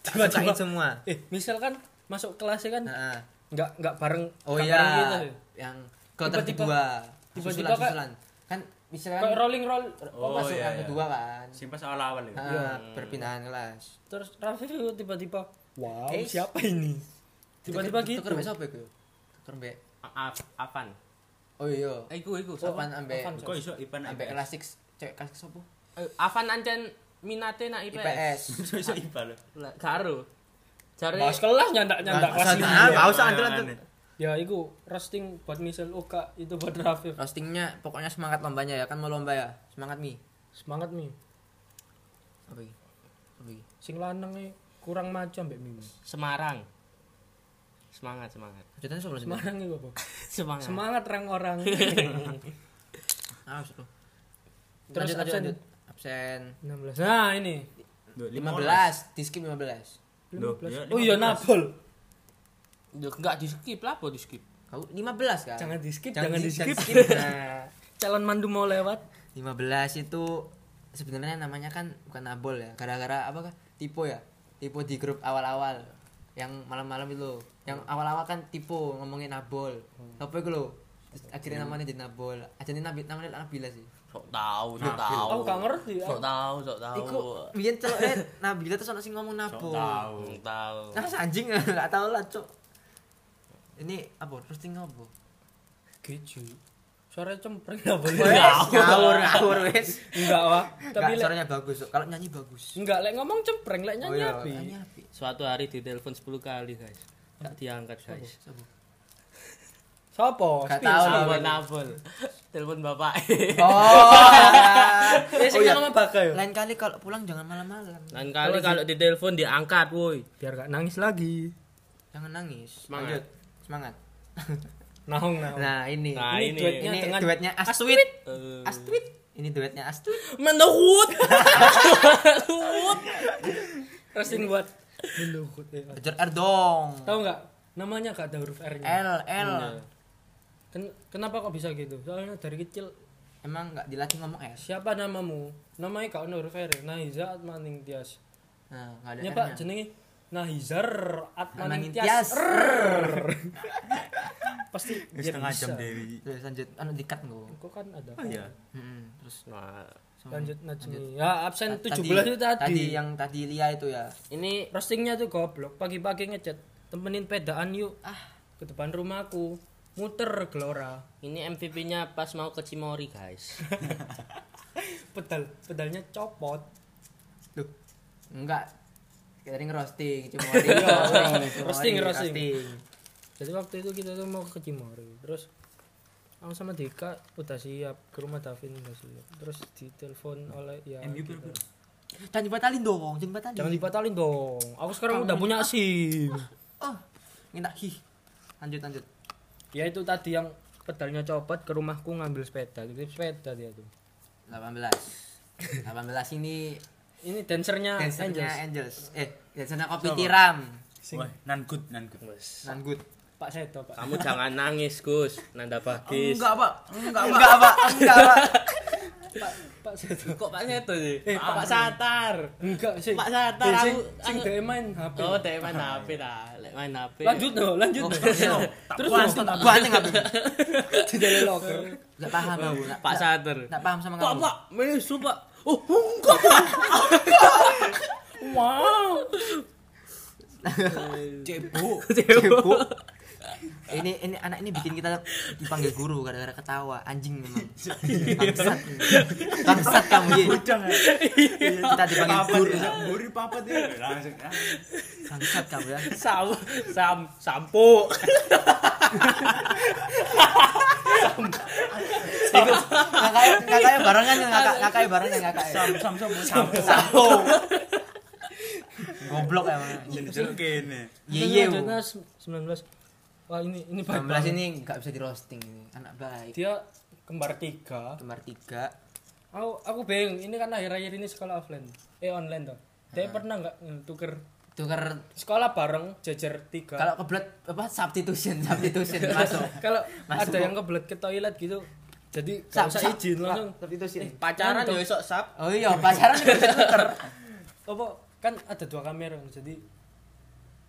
S2: Tak sukain semua
S1: Eh, Michelle kan masuk kelasnya kan
S2: Heeh.
S1: nggak nggak bareng
S2: Nah.
S1: gitu ya. nggak
S2: oh iya
S1: bareng kita.
S2: yang kloter
S1: Tiba-tiba-
S2: kedua
S1: tiba-tiba
S2: susulan
S1: kan-
S2: susulan kan misalkan
S1: Kayak rolling roll
S2: oh, masuk
S3: iya,
S2: yang
S3: iya.
S2: kedua kan
S3: Simpas awal-awal ya.
S2: Heeh, perpindahan kelas
S1: terus Rafif itu tiba-tiba wow
S2: Eh,
S1: siapa ini tiba-tiba gitu
S2: tuker mbek sapa iku tuker mbek
S4: A- A- Avan
S2: oh iya
S4: eh iku iku
S2: sopan ambek
S1: Apaan,
S3: Kok iso Ipan
S2: ambek
S3: ambek
S2: kelas 6 cewek kelas sapa
S4: Eh, Avan ancen minate nak IPS
S2: IPS
S3: iso Ipan.
S4: lah karo jare
S1: Bahas kelas nyandak nyandak
S2: Nggak
S1: kelas
S2: usah,
S1: ini.
S2: nah, nggak usah
S3: Aneh,
S2: antul
S3: aneh.
S2: antul
S1: ya itu roasting buat Michelle Oka itu buat Rafif
S2: roastingnya pokoknya semangat lombanya ya kan mau lomba ya semangat mi
S1: semangat mi
S2: apa iki apa iki
S1: sing lanang e kurang maju ambek Mimi
S4: Semarang semangat semangat
S2: Lanjutannya sebelum semangat
S1: Semarang itu apa
S2: Nah.
S4: semangat
S1: semangat orang orang
S2: ah seru
S1: Terus
S2: terus
S1: absen.
S2: lanjut absen
S1: 16 nah ini
S3: Duh,
S2: 15 di skip 15
S3: Duh,
S1: 15.
S3: ya,
S1: oh iya
S3: 15.
S1: nabol
S4: Duh, enggak di skip lah apa di skip
S2: kau 15 kan
S1: jangan di skip
S2: Jangan
S1: jangan
S2: di-
S1: di skip
S2: jangan skip. Nah.
S1: calon mandu mau lewat
S2: 15 itu sebenarnya namanya kan bukan abol ya gara-gara apa kah tipe ya tipe di grup awal-awal yang malam-malam itu yang awal-awal kan tipe ngomongin abol apa itu lo Hmm. Terus akhirnya namanya jadi nabol aja nih nabi namanya nabila sih
S4: sok tahu sok tahu
S1: aku
S2: Oh.
S1: gak ngerti ya.
S4: sok tahu sok tahu
S2: Iku biyen Eh, celoknya nabila terus ono sing ngomong nabol
S3: Tahu.
S4: Sok tahu
S2: nah anjing nggak tahu lah cok ini apa roasting apa
S1: Geju. Suara cempreng enggak boleh.
S2: Wes, ngawur ngawur wes
S1: Enggak, Wak. Tapi
S2: Nggak,
S1: lek
S2: suaranya bagus Cok. kalau nyanyi bagus
S1: enggak lek ngomong cempreng, lek nyanyi ya.
S2: iya,
S1: api.
S2: nyanyi api
S4: suatu hari ditelepon 10 kali guys tak diangkat guys
S1: Sopo?
S2: Sopo? Gak
S1: Spill,
S2: tahu
S1: spill.
S2: lah.
S4: telepon nabol telepon bapak
S2: Oh.
S1: Eh, sing
S2: iya.
S1: ngomong bakal ya.
S2: Lain kali kalau pulang jangan malam-malam.
S4: dan kali kalau ditelepon diangkat woi
S1: Biar gak nangis lagi.
S2: Jangan nangis. Lanjut.
S4: Semangat.
S2: Semangat.
S1: Naung, naung.
S2: Nah, ini.
S4: Nah,
S2: ini
S4: ini.
S2: duetnya,
S1: Ini
S2: ini
S1: dengan
S2: duetnya Astuit.
S4: Eh.
S2: Astuit. Ini duetnya Astuit.
S4: menurut
S1: Roasting buat Luhut. eh, Wak.
S2: Ajar Erdong.
S1: Tahu enggak? Namanya gak ada huruf R-nya.
S2: L L.
S4: Iya.
S1: Ken- kenapa kok bisa gitu? Soalnya dari kecil
S2: Emang nggak dilatih ngomong S.
S1: siapa namamu? Namanya gak ada huruf R. Nahiza Atmaning Tias.
S2: Nah, nggak ada
S1: Ya,
S2: R-nya.
S1: Pak, jenenge Nahizar Atmaning
S2: Maning
S1: Tias.
S2: tias.
S1: Pasti
S3: Wis
S1: dia
S3: setengah
S1: bisa.
S3: jam dewi.
S2: Terus lanjut anu dikat Hmm. nggo.
S1: Kok kan ada.
S3: Iya.
S2: Heeh, terus
S4: nah,
S2: sama.
S1: lanjut Najmi ya absen
S2: Ta-
S1: 17 itu tadi,
S2: Tadi yang tadi Lia itu ya.
S4: ini
S1: roastingnya tuh goblok pagi-pagi ngechat temenin pedaan yuk ah ke depan rumahku muter gelora
S4: ini MVP-nya pas mau ke Cimori guys
S1: pedal pedalnya copot
S2: Duh. Enggak. Kita tadi ngerosting cuma
S1: Roasting,
S2: roasting,
S1: roasting. jadi waktu itu kita tuh mau ke Cimory terus aku sama Dika udah siap ke rumah Davin udah siap terus ditelepon oleh ya gitu.
S2: Jangan dibatalin dong, jangan dibatalin.
S1: jangan dibatalin dong aku sekarang udah punya SIM
S2: Oh, minta hih. Lanjut lanjut.
S1: ya itu tadi yang pedalnya copot ke rumahku ngambil sepeda jadi sepeda dia tuh
S2: 18. 18 ini
S1: ini dancernya Angels.
S2: dancernya Angels. Eh, dancernya Kopi Tiram.
S3: Wah, nan good, nan good.
S2: Nan good.
S1: Pak Seto Pak
S4: kamu jangan nangis Gus Nanda Bagis
S2: Enggak, Pak. Enggak, Pak. Enggak, Pak. Enggak, Pak.
S1: Pak Seto
S4: kok Pak Seto sih Eh, Pak Satar
S1: Enggak sih.
S4: Pak Satar,
S1: Deh,
S4: aku-
S1: sing- sing
S2: anu-
S4: aku-
S1: dhewe main HP.
S4: oh teh main HP lah Lek main HP
S2: iya.
S1: Lanjut no, lanjut
S2: Oh.
S1: no. Terus no,
S2: Enggak, Pak. Enggak, Pak.
S1: jendela locker.
S2: Enggak paham aku. Enggak-
S4: Pak Satar
S2: Enggak paham sama
S4: Pak
S2: kamu.
S4: Pak menyusul Pak oh enggak Pak
S1: Wow.
S2: Cebok. ini ini anak ini bikin kita dipanggil guru gara-gara ketawa anjing memang bangsat bangsat kamu Ye. kita dipanggil
S6: Papa
S2: guru
S6: dia, guru papa dia langsung ah.
S2: bangsat kamu ya
S4: sam sam sampo
S2: kakaknya kakaknya barengan ya kakak kakaknya barengan ya kakaknya
S6: Sam sam sam sampo.
S2: goblok emang
S6: Jadi jeruk ini.
S2: ye ye
S1: Lanjut, Nas. 19 wah ini ini baik
S2: 19
S1: banget.
S2: ini nggak bisa di roasting ini anak baik
S1: dia kembar tiga
S2: kembar tiga
S1: aku aku bingung ini kan akhir-akhir ini sekolah offline eh online toh dia pernah nggak eh, tuker
S2: tukar
S1: sekolah bareng jajar tiga
S2: kalau kebelet apa substitution substitution masuk
S1: kalau
S2: Masuk
S1: ada
S2: kok.
S1: yang kebelet ke toilet gitu jadi nggak
S2: Sab-
S1: usah
S2: sab-
S1: izin langsung
S2: substitution
S4: pacaran ya esok sab
S2: oh iya pacaran juga bisa tuker
S1: apa kan ada dua kamera jadi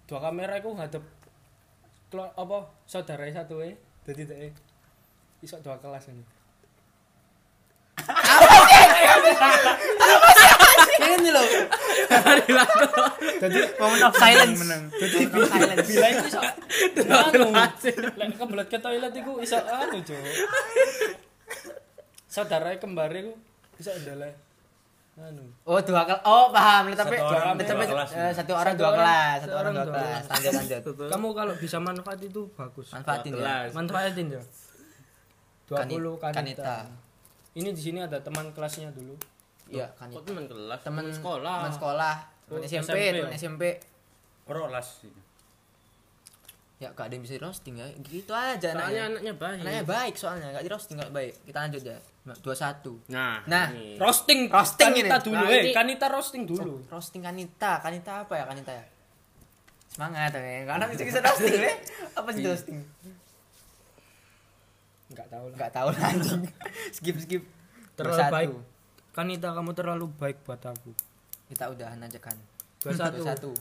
S1: dua kamera aku ngadep kelo, apa saudara satu eh jadi deh isok dua kelas ini
S2: ini loh
S1: jadi
S2: moment of silence
S6: Menang.
S2: jadi silence
S1: bila itu isok anu lek kebelet ke toilet iku isok anu cuk saudara kembar iku isok ndele anu
S2: oh dua kelas oh paham tapi
S3: Satu orang, dua
S2: tapi,
S3: kelas.
S2: eh, satu orang
S1: Satu
S2: dua
S1: orang,
S2: kelas
S1: satu
S2: satu
S1: orang,
S2: orang dua
S1: dua
S2: kelas lanjut lanjut
S1: kamu kalau bisa manfaat itu bagus
S2: manfaatin ya
S1: manfaatin ya 20
S2: Kani-
S1: kanita.
S2: kanita.
S1: ini di sini ada teman kelasnya dulu
S2: iya
S4: kok
S2: kanita
S4: teman kelas
S2: teman
S4: sekolah
S2: teman sekolah teman
S1: Oh,
S2: SMP
S1: SMP,
S2: teman
S1: ya.
S2: SMP
S3: Rolas.
S2: ya gak ada yang bisa di roasting ya gitu aja
S4: soalnya
S2: anaknya
S4: anaknya baik
S2: anaknya baik soalnya gak di roasting gak baik kita lanjut ya dua satu
S4: nah
S2: Nah.
S4: ini.
S1: roasting
S2: Roasting
S1: kanita
S2: ini.
S1: dulu
S4: Nah,
S1: eh
S4: ini-
S1: kanita roasting dulu
S2: roasting kanita kanita apa ya kanita ya semangat ya karena bisa bisa roasting ya apa sih roasting
S1: nggak tahu lah
S2: nggak tahu lah, anjing skip skip
S1: terlalu
S2: Dua satu.
S1: baik kanita kamu terlalu baik buat aku
S2: kita udahan aja kan
S1: dua satu
S2: satu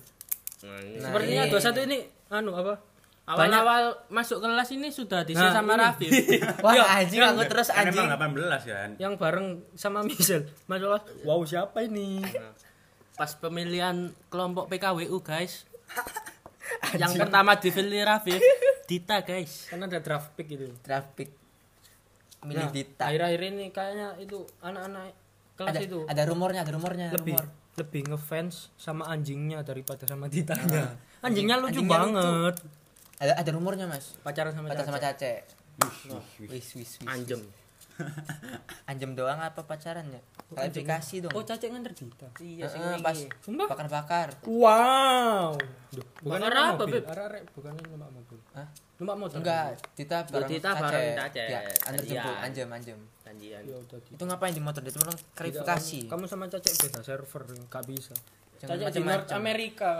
S4: Nah, ini.
S2: Nah,
S1: sepertinya
S2: ini.
S1: dua satu ini anu apa
S4: awal-awal masuk kelas ini sudah diisi
S1: Nah,
S4: sama
S1: ini.
S4: Raffi
S2: wah anjing aku terus anjing
S3: Emang 18 kan.
S1: yang bareng sama Michelle masalah Nah. wow siapa ini
S4: pas pemilihan kelompok PKWU guys yang pertama dipilih Raffi Dita guys
S1: karena ada draft pick gitu
S2: traffic
S1: Nah,
S2: milih Dita
S1: akhir-akhir ini kayaknya itu anak-anak kelas
S2: ada,
S1: itu
S2: ada rumornya ada rumornya
S1: lebih
S2: rumor.
S1: lebih ngefans sama anjingnya daripada sama Ditanya. Nah. anjingnya lucu
S2: Anjingnya lucu.
S1: banget.
S2: ada ada rumornya mas
S1: Pacaran sama
S2: pacar sama
S1: Caca.
S2: cace wis wis wis
S4: anjem
S2: anjem doang apa pacarannya klarifikasi dong
S1: Oh, Caca nganter Dita.
S2: iya pas
S1: Sumpah?
S2: bakar bakar
S1: Wow. Duh, bukan
S4: Bakar
S1: numpak
S4: apa,
S1: mobil.
S4: Beb?
S1: Arek-arek, bukan numpak mobil.
S2: Hah?
S1: Numpak motor.
S2: enggak Dita bareng
S4: Dita bareng Cace.
S2: Ya, antar jemput
S4: Janjian.
S2: anjem anjem
S4: janjian
S1: Ya udah Dita.
S2: itu ngapain di motor dia cuma klarifikasi
S1: Kamu sama Caca beda server, enggak bisa.
S2: Jangan
S1: Caca di North
S2: macam-macam.
S1: Amerika.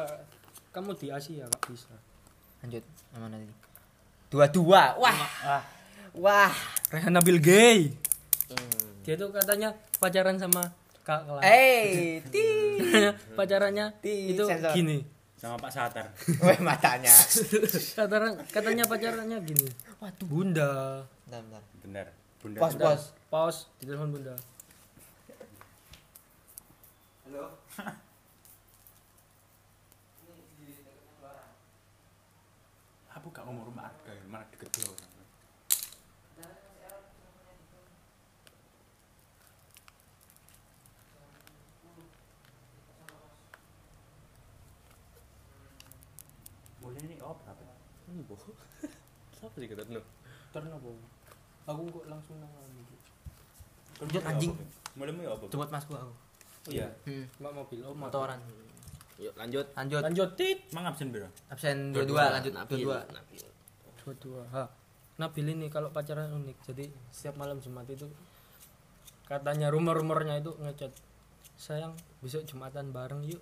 S1: Kamu di Asia enggak bisa.
S2: lanjut sama nanti dua dua wah wah
S1: Rehan Nabil gay. Dia tuh katanya pacaran sama Kak Kelas.
S2: Hmm. eh ti
S1: pacarannya
S2: Di
S1: itu
S2: sensor.
S1: gini.
S3: Sama Pak Satar.
S2: Weh matanya.
S1: katanya katanya pacarannya gini waduh bunda
S2: Bentar, bentar.
S3: Benar. Bunda.
S2: Pos, pos.
S1: pause di telepon bunda
S6: Aku gak ngomong rumah ada, mana deket lo. Boleh nih, oh berapa?
S4: siapa sih kita tuh
S1: terno bu aku kok langsung nangis
S2: Lanjut, anjing.
S3: Mulaimu ya apa?
S2: Jemput mas gua aku.
S3: Iya.
S2: Hmm.
S1: mbak mobil oh motor
S2: Motoran.
S4: yuk lanjut
S2: Lanjut.
S1: lanjut tit
S3: Emang absen biro.
S1: Iya.
S2: Absen dua-dua, lanjut
S4: Nabil.
S2: dua-dua.
S4: Iya, Nabil.
S1: dua dua ha Nabil ini kalau pacaran unik jadi setiap malam Jumat itu katanya rumor-rumornya itu ngechat sayang besok Jumatan bareng yuk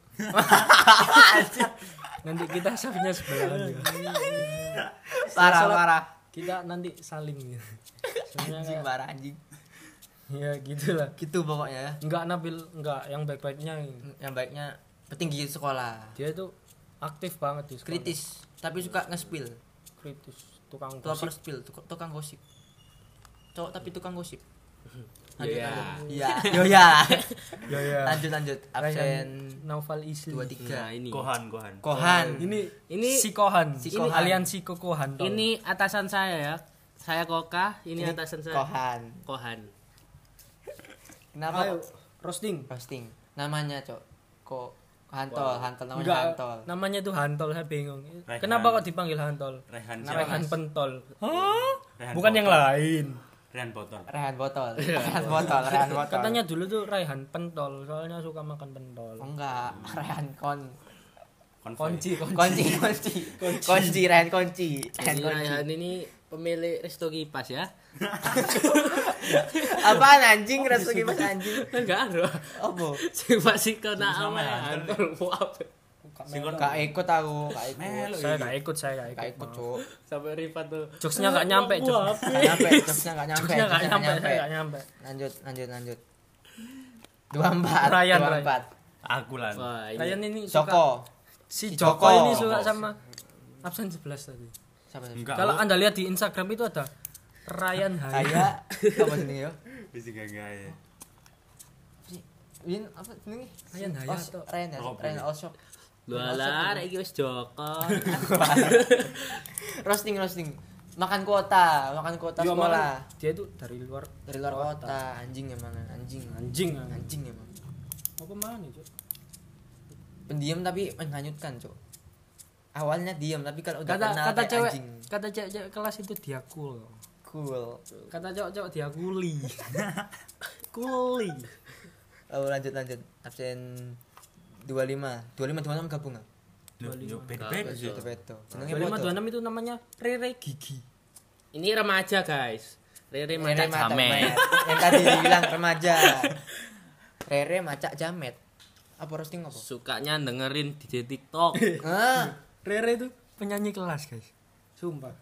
S1: nanti kita safnya sebelahan ya.
S2: Parah,
S1: Salat.
S2: parah. Iya,
S1: kita nanti saling gitu.
S2: Anjing
S1: Sebenarnya kayak-
S2: parah anjing.
S1: ya gitulah
S2: Gitu pokoknya ya.
S1: Enggak Nabil, enggak yang baik-baiknya ini.
S2: Yang baiknya petinggi sekolah.
S1: Dia itu aktif banget di sekolah.
S2: Kritis, tapi suka nge-spill.
S1: Kritis, tukang
S2: Tukang
S1: gosip.
S2: spill, tukang gosip. Cowok tapi tukang gosip. Lanjut,
S4: Iya.
S2: lanjut. Iya. Yo ya.
S1: Ya ya.
S2: Lanjut lanjut. Absen
S1: Naufal Isli.
S2: 23.
S4: Nah, ini.
S3: Kohan, kohan.
S2: Kohan.
S1: Ini ini
S7: Ini-
S1: si Kohan.
S2: Si
S1: Ini
S2: Kohan.
S1: aliansi Kokohan. tau.
S7: Ini atasan saya ya. Saya Koka, ini, atasan saya.
S2: Kohan.
S7: Kohan.
S2: Kenapa?
S1: ayo
S2: kok
S1: roasting.
S2: Posting. Namanya, Cok. Ko Hantol, Hantol namanya
S1: Enggak, Nah.
S2: Hantol.
S1: namanya tuh Hantol, saya bingung.
S3: Rehan.
S1: Kenapa kok dipanggil Hantol?
S3: Rehan siapa?
S1: Nah, Rehan Pentol.
S3: Rehan
S1: Bukan yang
S3: Botol.
S1: lain.
S3: Rehan botol.
S2: Rehan botol. Rehan botol, Rehan botol.
S1: Katanya dulu tuh Rehan Pentol, soalnya suka makan pentol.
S2: Oh, enggak, Rehan Kon.
S3: Konvoy.
S1: Konci, konci.
S2: Konci, konci. Konci, Rehan Konci. Rehan
S7: Jadi
S2: Konci.
S7: Raihan ini pemilik Resto Kipas ya.
S2: Apaan anjing? Resto gimana anjing?
S7: Enggak ada.
S2: Opo?
S7: Sing pasti kena ama
S3: Sama-sama
S7: ya.
S3: ya,
S7: Antur mau apa?
S2: Singkon gak
S1: E.
S2: ikut aku, gak ikut.
S1: Saya gak ikut, saya gak
S2: Gak
S1: ikut.
S2: ikut, Cok.
S7: Sampai Rifat tuh.
S1: Jokesnya gak nyampe, jokes-
S2: Gak nyampe, jokesnya gak nyampe.
S1: jokesnya gak
S2: jokesnya
S1: nyampe, saya gak nyampe.
S2: Lanjut, lanjut, lanjut. 24,
S1: Ryan, Ryan.
S2: 24.
S3: Aku lan.
S7: Wah, ini
S1: Ryan ini suka,
S2: Joko.
S1: si
S2: Si
S1: Iya. Joko,
S2: Joko.
S1: ini suka sama absen 11 tadi.
S2: Siapa sih?
S3: Enggak.
S1: Kalau
S3: aku-
S1: Anda lihat di Instagram itu ada Ryan Haya.
S2: Saya apa sini yo?
S3: Bisa gak gaya.
S2: Win apa jenenge?
S1: Ryan Hayat,
S2: Os-
S1: Tok.
S2: Ryan Hayat, Ryan Osok.
S7: Lualah, rek iki wis Joko.
S2: Roasting roasting. Makan kuota, makan kuota
S1: Dia
S2: sekolah.
S1: malah- Dia itu dari luar
S2: Dari luar kota, anjing emang, anjing.
S1: anjing. anjing.
S2: Anjing emang.
S1: Apa mana, Cuk?
S2: Pendiam tapi menghanyutkan, Cok. Awalnya diam tapi kalau udah
S1: Kata
S2: kenal
S1: kata
S2: kayak
S1: cewek,
S2: anjing.
S1: kata cewek kelas itu dia cool.
S2: Cool.
S1: Kata cowok-cowok dia kuli. kuli.
S2: Lalu Oh, lanjut lanjut. Absen 25. 25 26 gabung ah.
S3: Loh, yo,
S1: E.
S3: beda-beda sih.
S2: Itu beto. Jenenge
S1: Lima
S2: foto.
S1: dua enam itu namanya Rere Gigi.
S7: Ini remaja, guys. Rere
S2: Rere
S7: macak
S2: macak
S7: jamet.
S2: jamet. Yang tadi dibilang remaja. Rere macak jamet. Apa roasting apa?
S7: Sukanya dengerin DJ TikTok.
S2: Hah?
S1: Rere itu penyanyi kelas, guys. Sumpah.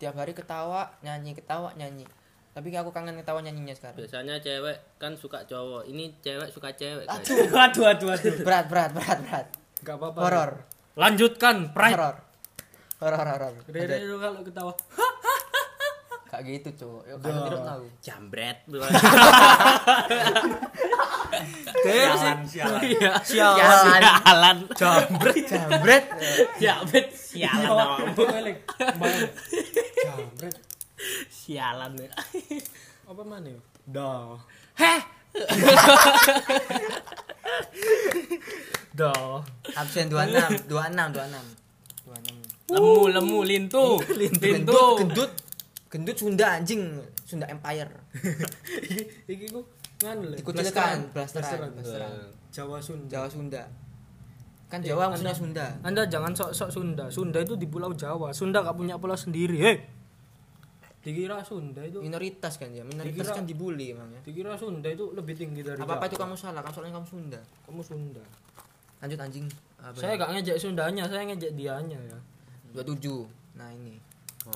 S2: Tiap hari ketawa, nyanyi, ketawa, nyanyi. Tapi aku kangen ketawa nyanyinya sekarang.
S7: Biasanya cewek kan suka cowok. Ini cewek suka cewek, guys.
S2: Aduh,
S1: aduh aduh aduh.
S2: berat, berat, berat, berat.
S1: Enggak apa-apa.
S2: Horor.
S1: Lanjutkan, Pride.
S2: Horor. Horor, horor.
S1: Rere itu kalau ketawa.
S2: Kayak gitu, cowok. Ya kan tiru tahu.
S7: Jambret.
S1: Sialan, E.
S7: Iya.
S2: Sialan.
S7: Sialan.
S2: Jambret, jambret.
S7: Jambret. Iya. Sialan.
S1: Nah,
S7: awakmu.
S1: Jambret.
S7: Sialan. ya.
S1: Apa mana? ya? Dah.
S7: Heh.
S1: Dah.
S2: Absen 26, 26, 26. 26.
S7: Lemu, lemu, lintu. Lintu.
S2: Gendut, gendut. Gendut Sunda anjing, Sunda Empire.
S1: Iki iki ku nganu lho.
S2: Dikucilkan,
S1: Blasteran.
S2: blasteran, blasteran.
S1: Jawa Sunda.
S2: Jawa Sunda. Kan Jawa maksudnya Sunda.
S1: Anda jangan sok-sok Sunda. Sunda itu di Pulau Jawa. Sunda gak punya pulau sendiri. Hei. Dikira Sunda itu
S2: Minoritas kan ya, minoritas
S1: Dikira-
S2: kan dibully emangnya.
S1: dikira Sunda itu lebih tinggi dari
S2: Apa apa
S1: Jawa.
S2: itu kamu salah, kan soalnya kamu Sunda.
S1: Kamu Sunda.
S2: Lanjut anjing. Apa ya?
S1: Saya
S2: ini?
S1: gak ngejek Sundanya, saya ngejek dianya ya.
S2: 27. Nah ini.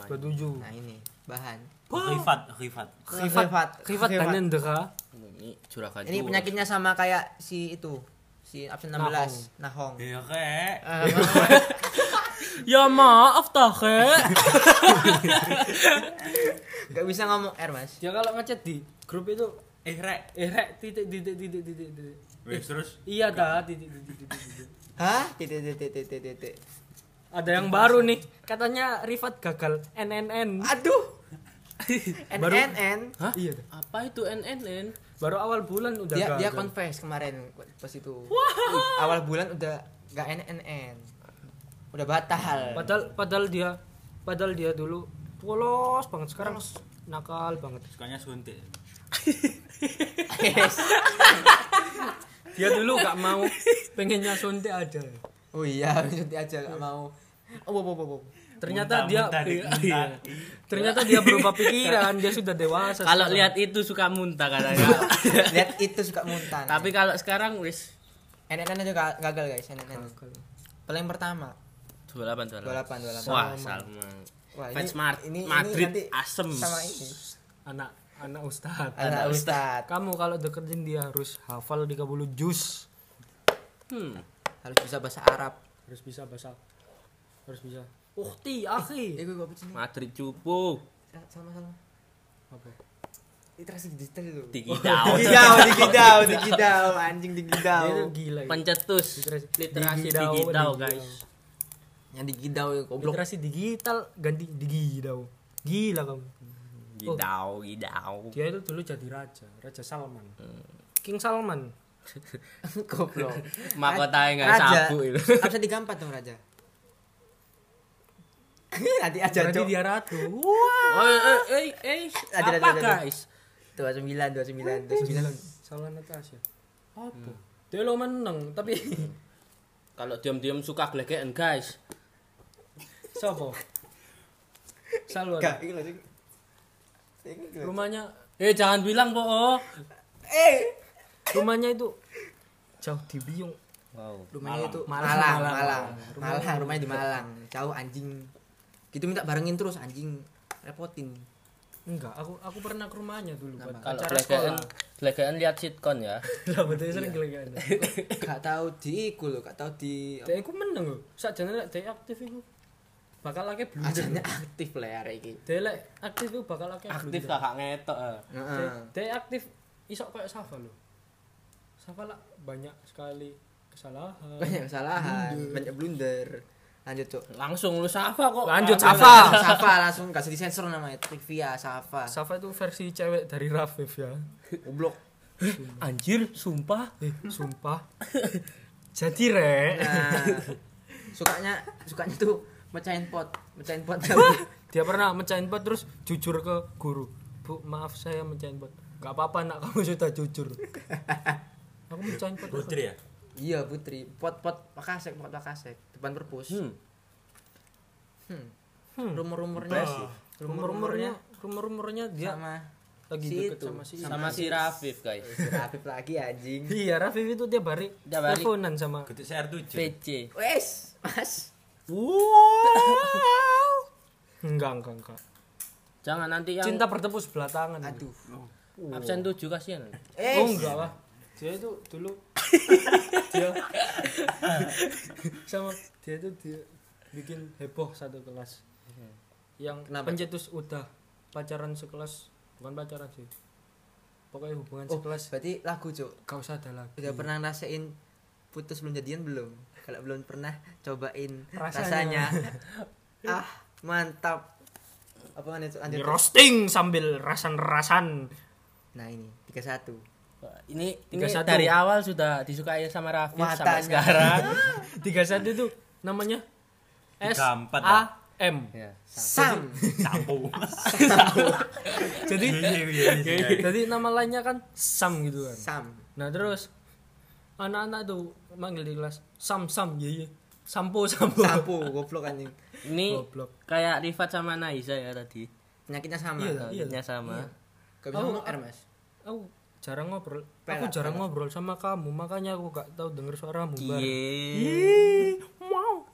S1: 27.
S2: Nah ini bahan.
S3: Rifat, Rifat.
S2: Khifat,
S1: Krifat dan Nendera.
S7: Ini curahkan.
S2: Ini penyakitnya sama kayak si itu, si absen 16, Nahong. Ah,
S3: Iya kek.
S7: Ya maaf toh, Kak.
S2: Gak bisa ngomong R, Mas.
S1: Dia kalau ngechat di grup itu
S3: Eh rek.
S1: eh rek titik titik titik titik titik.
S3: Wes terus.
S1: Iya dah titik titik titik titik.
S2: Hah? Titik titik titik titik.
S1: Ada yang baru nih, katanya Rifat gagal NNN.
S2: Aduh.
S1: Baru-
S2: NNN.
S1: Hah? Iya. dah.
S7: Apa itu NNN?
S1: Baru awal bulan udah
S2: Dia
S1: gagal.
S2: dia confess kemarin pas itu. Ih, Awal bulan udah gak NNN. Udah batal.
S1: Padahal padahal dia padahal dia dulu polos banget sekarang nakal banget.
S3: Sukanya suntik.
S1: Dia dulu gak mau pengennya suntik aja.
S2: Oh iya, berhenti aja gak mau. Oh, oh, oh, oh, oh.
S1: Ternyata dia
S3: Muntah-muntah di-
S1: iya, iya. ternyata dia berubah pikiran, dia sudah dewasa.
S7: Kalau
S1: sekarang.
S7: lihat itu suka muntah katanya.
S2: Lihat itu suka muntah.
S7: Tapi kalau sekarang wis
S2: NNN aja ga- gagal guys, NNN. Paling pertama
S7: 28
S2: 28 28.
S7: Wah, Salma.
S2: Wah,
S7: Fans Mart- Madrid asem.
S2: Sama ini.
S1: anak anak ustad.
S2: Anak Ustad
S1: Kamu kalau deketin dia harus hafal 30 juz,
S7: Hmm.
S2: harus bisa bahasa Arab.
S1: harus bisa bahasa harus bisa. Ukti, akhi.
S2: Eh, gue gak sini.
S7: Madrid cupu.
S2: Sama sama.
S1: Apa?
S2: literasi digital itu
S4: Tinggi daun.
S2: digidau digidau digidau anjing digidau
S1: Dia tuh gila. gitu.
S7: pencetus
S1: Literasi-
S7: literasi
S1: digidau,
S7: digital
S1: digidau.
S7: guys
S2: yang digidau ya goblok
S1: Literasi digital ganti digidau. Gila kamu.
S4: Gidau, gidau.
S1: Dia itu dulu jadi raja, Raja Salman. King Salman.
S2: goblok
S4: Mahkota yang nggak sabu itu.
S2: harusnya digampat dong raja nanti aja
S1: Berarti
S2: cok
S1: dia ratu. Wah.
S7: oh eh eh eh
S2: Ada, ada,
S7: apa
S2: ada, ada.
S7: guys
S2: dua sembilan dua sembilan dua sembilan
S1: Salman Natasha. Apa? Dia lo menang, tapi
S7: kalau diam-diam suka gelegean guys
S1: sopo? Salman.
S2: enggak ini lagi Ini lagi.
S1: Rumahnya
S7: eh jangan bilang po oh.
S1: rumahnya itu jauh di Biung.
S4: Wow.
S2: rumahnya itu
S1: Malang.
S2: Malang
S1: Malang.
S2: Malang
S1: Rumah-
S2: Malang rumahnya di Malang jauh anjing gitu minta barengin terus anjing repotin
S1: Enggak, aku aku pernah ke rumahnya dulu buat
S4: Kalau
S1: acara
S4: gelegean,
S1: sekolah.
S4: gelegean lihat sitcom ya.
S1: Lah betul sering gelegean.
S2: gak tahu di iku loh gak tahu di
S1: Dek aku menang lho. Sakjane lek dek aktif iku bakal lagi
S2: ajanya
S1: blunder.
S2: aktif lah ya hari ini
S1: Dek lek aktif iku bakal lagi
S4: Aktif
S1: blunder.
S4: kakak ngetok. eh.
S1: Dek,
S2: Heeh.
S1: dek aktif isok kayak Safa lho. Safa lah banyak sekali kesalahan.
S2: banyak kesalahan banyak blunder lanjut cok
S4: Langsung lu sapa kok.
S1: Lanjut
S4: Kamu-
S1: Safa.
S2: Safa langsung kasih disensor namanya trivia Safa
S1: Safa itu versi cewek dari Rafif ya.
S2: goblok
S4: Anjir, sumpah.
S1: Eh, sumpah. Jadi rek,
S2: nah sukanya sukanya tuh mecahin pot mecahin pot
S1: dia pernah mencahin pot terus jujur ke guru. Bu, maaf saya mencahin pot. Gak apa-apa nak kamu sudah jujur. Aku mencahin pot.
S3: Putri ya?
S2: iya putri pot pot pakasek pot pakasek depan perpus
S4: Hmm.
S2: Hmm.
S1: Hmm.
S2: rumor-rumornya sih
S1: Rumor-rumornya, rumor-rumornya dia
S2: sama
S1: lagi
S2: si
S1: deket
S2: itu
S1: sama si
S4: Sama si Rafif, guys.
S2: si Rafif lagi anjing
S1: Iya, Rafif itu tiap hari
S4: Tiap hari.
S1: teleponan sama
S3: Ketik CR7.
S4: PC.
S2: wes mas
S1: enggak, enggak, enggak.
S4: Jangan nanti yang
S1: Cinta bertepuk sebelah tangan.
S2: aduh
S4: absen 7 kasihan.
S2: eh
S1: Oh, enggak lah. Dia itu dulu dia sama dia itu dia bikin heboh satu kelas. Yang
S2: Hmm. Kenapa?
S1: pencetus udah pacaran sekelas, bukan pacaran sih. Pokoknya hubungan
S2: oh
S1: sekelas
S2: berarti lagu cok
S1: gak usah ada lagi.
S2: udah pernah rasain putus belum jadian belum kalau belum pernah cobain rasanya,
S1: Rasanya.
S2: ah mantap apa mana itu
S1: Di
S2: lanjut Cuk?
S1: roasting sambil rasan-rasan.
S2: nah ini tiga satu
S4: Ini ini
S1: 31.
S4: dari awal sudah disukai sama Rafif
S2: Matanya.
S4: sampai sekarang.
S1: 31 itu namanya S
S3: Gampang,
S1: A
S3: Pak.
S1: M.
S2: Iya.
S4: ya.
S2: sam
S6: Oh,
S3: Sampo.
S1: Jadi
S3: Iya, iya, iya.
S1: jadi nama lainnya kan Sam gitu kan.
S2: sam
S1: Nah terus anak-anak tuh manggil di kelas Sam Sam ye ye. Sampo Sampo.
S2: sapu goblok anjing
S4: Ini
S1: Goblok.
S4: kayak Rifat sama Naiza ya tadi.
S2: penyakitnya sama
S1: Iya,
S2: Gak
S4: Targetnya sama.
S2: bisa
S1: Oh,
S2: ngomong R mas
S1: Aku jarang ngobrol.
S2: Pelak,
S1: aku jarang
S2: pelak.
S1: ngobrol sama kamu, makanya aku gak tahu denger suaramu. Bar.
S4: Iya.
S1: Wow.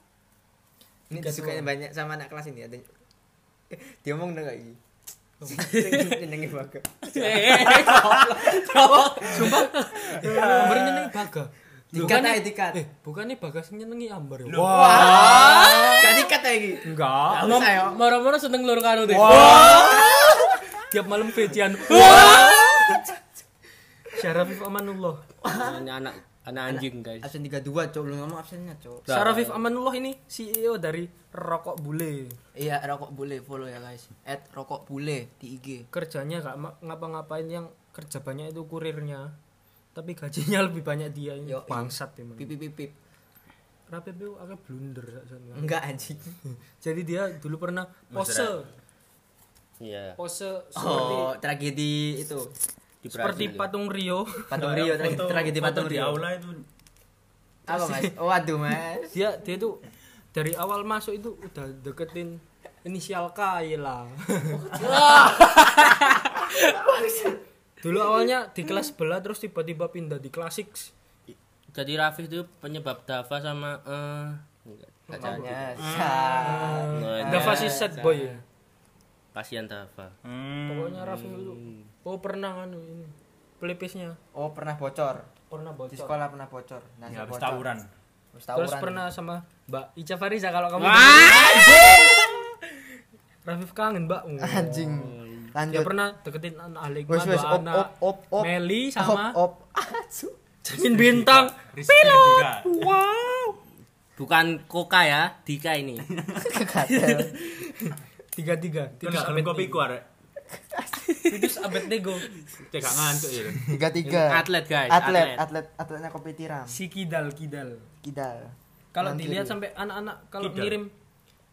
S2: ini
S1: Tiga
S2: disukainya
S1: dua.
S2: banyak sama anak kelas ini ada dia ngomong dong kayak gini Nyenengi banget.
S4: Iya.
S1: Ambar nyenengi Baga.
S2: Dikat aja dikat.
S1: Eh, bukannya Bagas nyenengi Ambar. ya?
S3: Wah.
S2: Ah, Gak dikat lagi.
S1: Enggak.
S2: Enggak ayo.
S7: moro-moro seneng lur kanu deh
S1: Tiap malam vecian. Syarafif Amanullah.
S4: Ini anak anak anjing guys.
S2: Absen 32, Cok. Belum ngomong absennya, Cok.
S1: Syarafif Amanullah ini CEO dari Rokok Bule.
S2: Iya, rokok bule follow ya, guys. At rokok bule di IG.
S1: Kerjanya gak ma- ngapa-ngapain yang kerja banyak itu kurirnya. Tapi gajinya lebih banyak dia ini.
S2: Yo,
S1: Bangsat emang.
S2: Pip pip pip, pip.
S1: Rapip itu agak blunder sak sana.
S2: Enggak anjing.
S1: Jadi dia dulu pernah pose
S4: Iya.
S1: pose seperti
S2: Oh, tragedi itu.
S4: Di
S1: seperti
S4: Brazil.
S1: patung Rio.
S2: Patung Rio, tragedi, tragedi patung
S3: Di
S2: Rio.
S3: aula itu
S2: Apa, Mas? Waduh, Mas.
S1: Dia dia tuh dari awal masuk itu udah deketin inisial K ya lah. dulu awalnya di kelas sebelah terus tiba-tiba pindah di klasik.
S4: Jadi Rafif itu penyebab Dava sama eh enggak, enggak jadi.
S2: Tanya. Sa-
S4: Nah, ini
S1: Dava si sad boy. ya.
S4: kasihan Dava.
S6: Hmm,
S1: Pokoknya Raffi
S2: Hmm.
S1: itu oh pernah kan ini pelipisnya
S2: Oh, pernah bocor.
S1: pernah
S2: Di
S1: bocor.
S2: sekolah pernah bocor. Nah,
S3: ya habis
S2: bocor.
S3: tawuran.
S2: Habis
S1: Terus
S2: tawuran.
S1: pernah sama Mbak Ica Fariza kalau kamu Rafif kangen Mbak.
S2: anjing.
S1: Dia
S2: lanjut
S1: pernah deketin anak ahli
S2: wes wes op
S1: anak
S2: op op op
S1: Meli
S2: op
S1: sama
S2: op asu
S1: Jamin Bintang.
S6: Pilot.
S1: Wow.
S7: Bukan Koka ya, Dika ini.
S2: kekatel
S1: Tiga-tiga.
S3: Kan gak kelem kopi ku arek.
S1: Itu abet nego.
S3: Cek gak ngantuk ya.
S2: tiga tiga
S7: Atlet guys,
S2: atlet atlet atletnya kopi tiram
S1: Si kidal kidal.
S2: kidal
S1: Kalau
S2: Kanan
S1: dilihat
S2: kiri.
S1: sampai anak-anak kalau
S3: Kidal.
S1: ngirim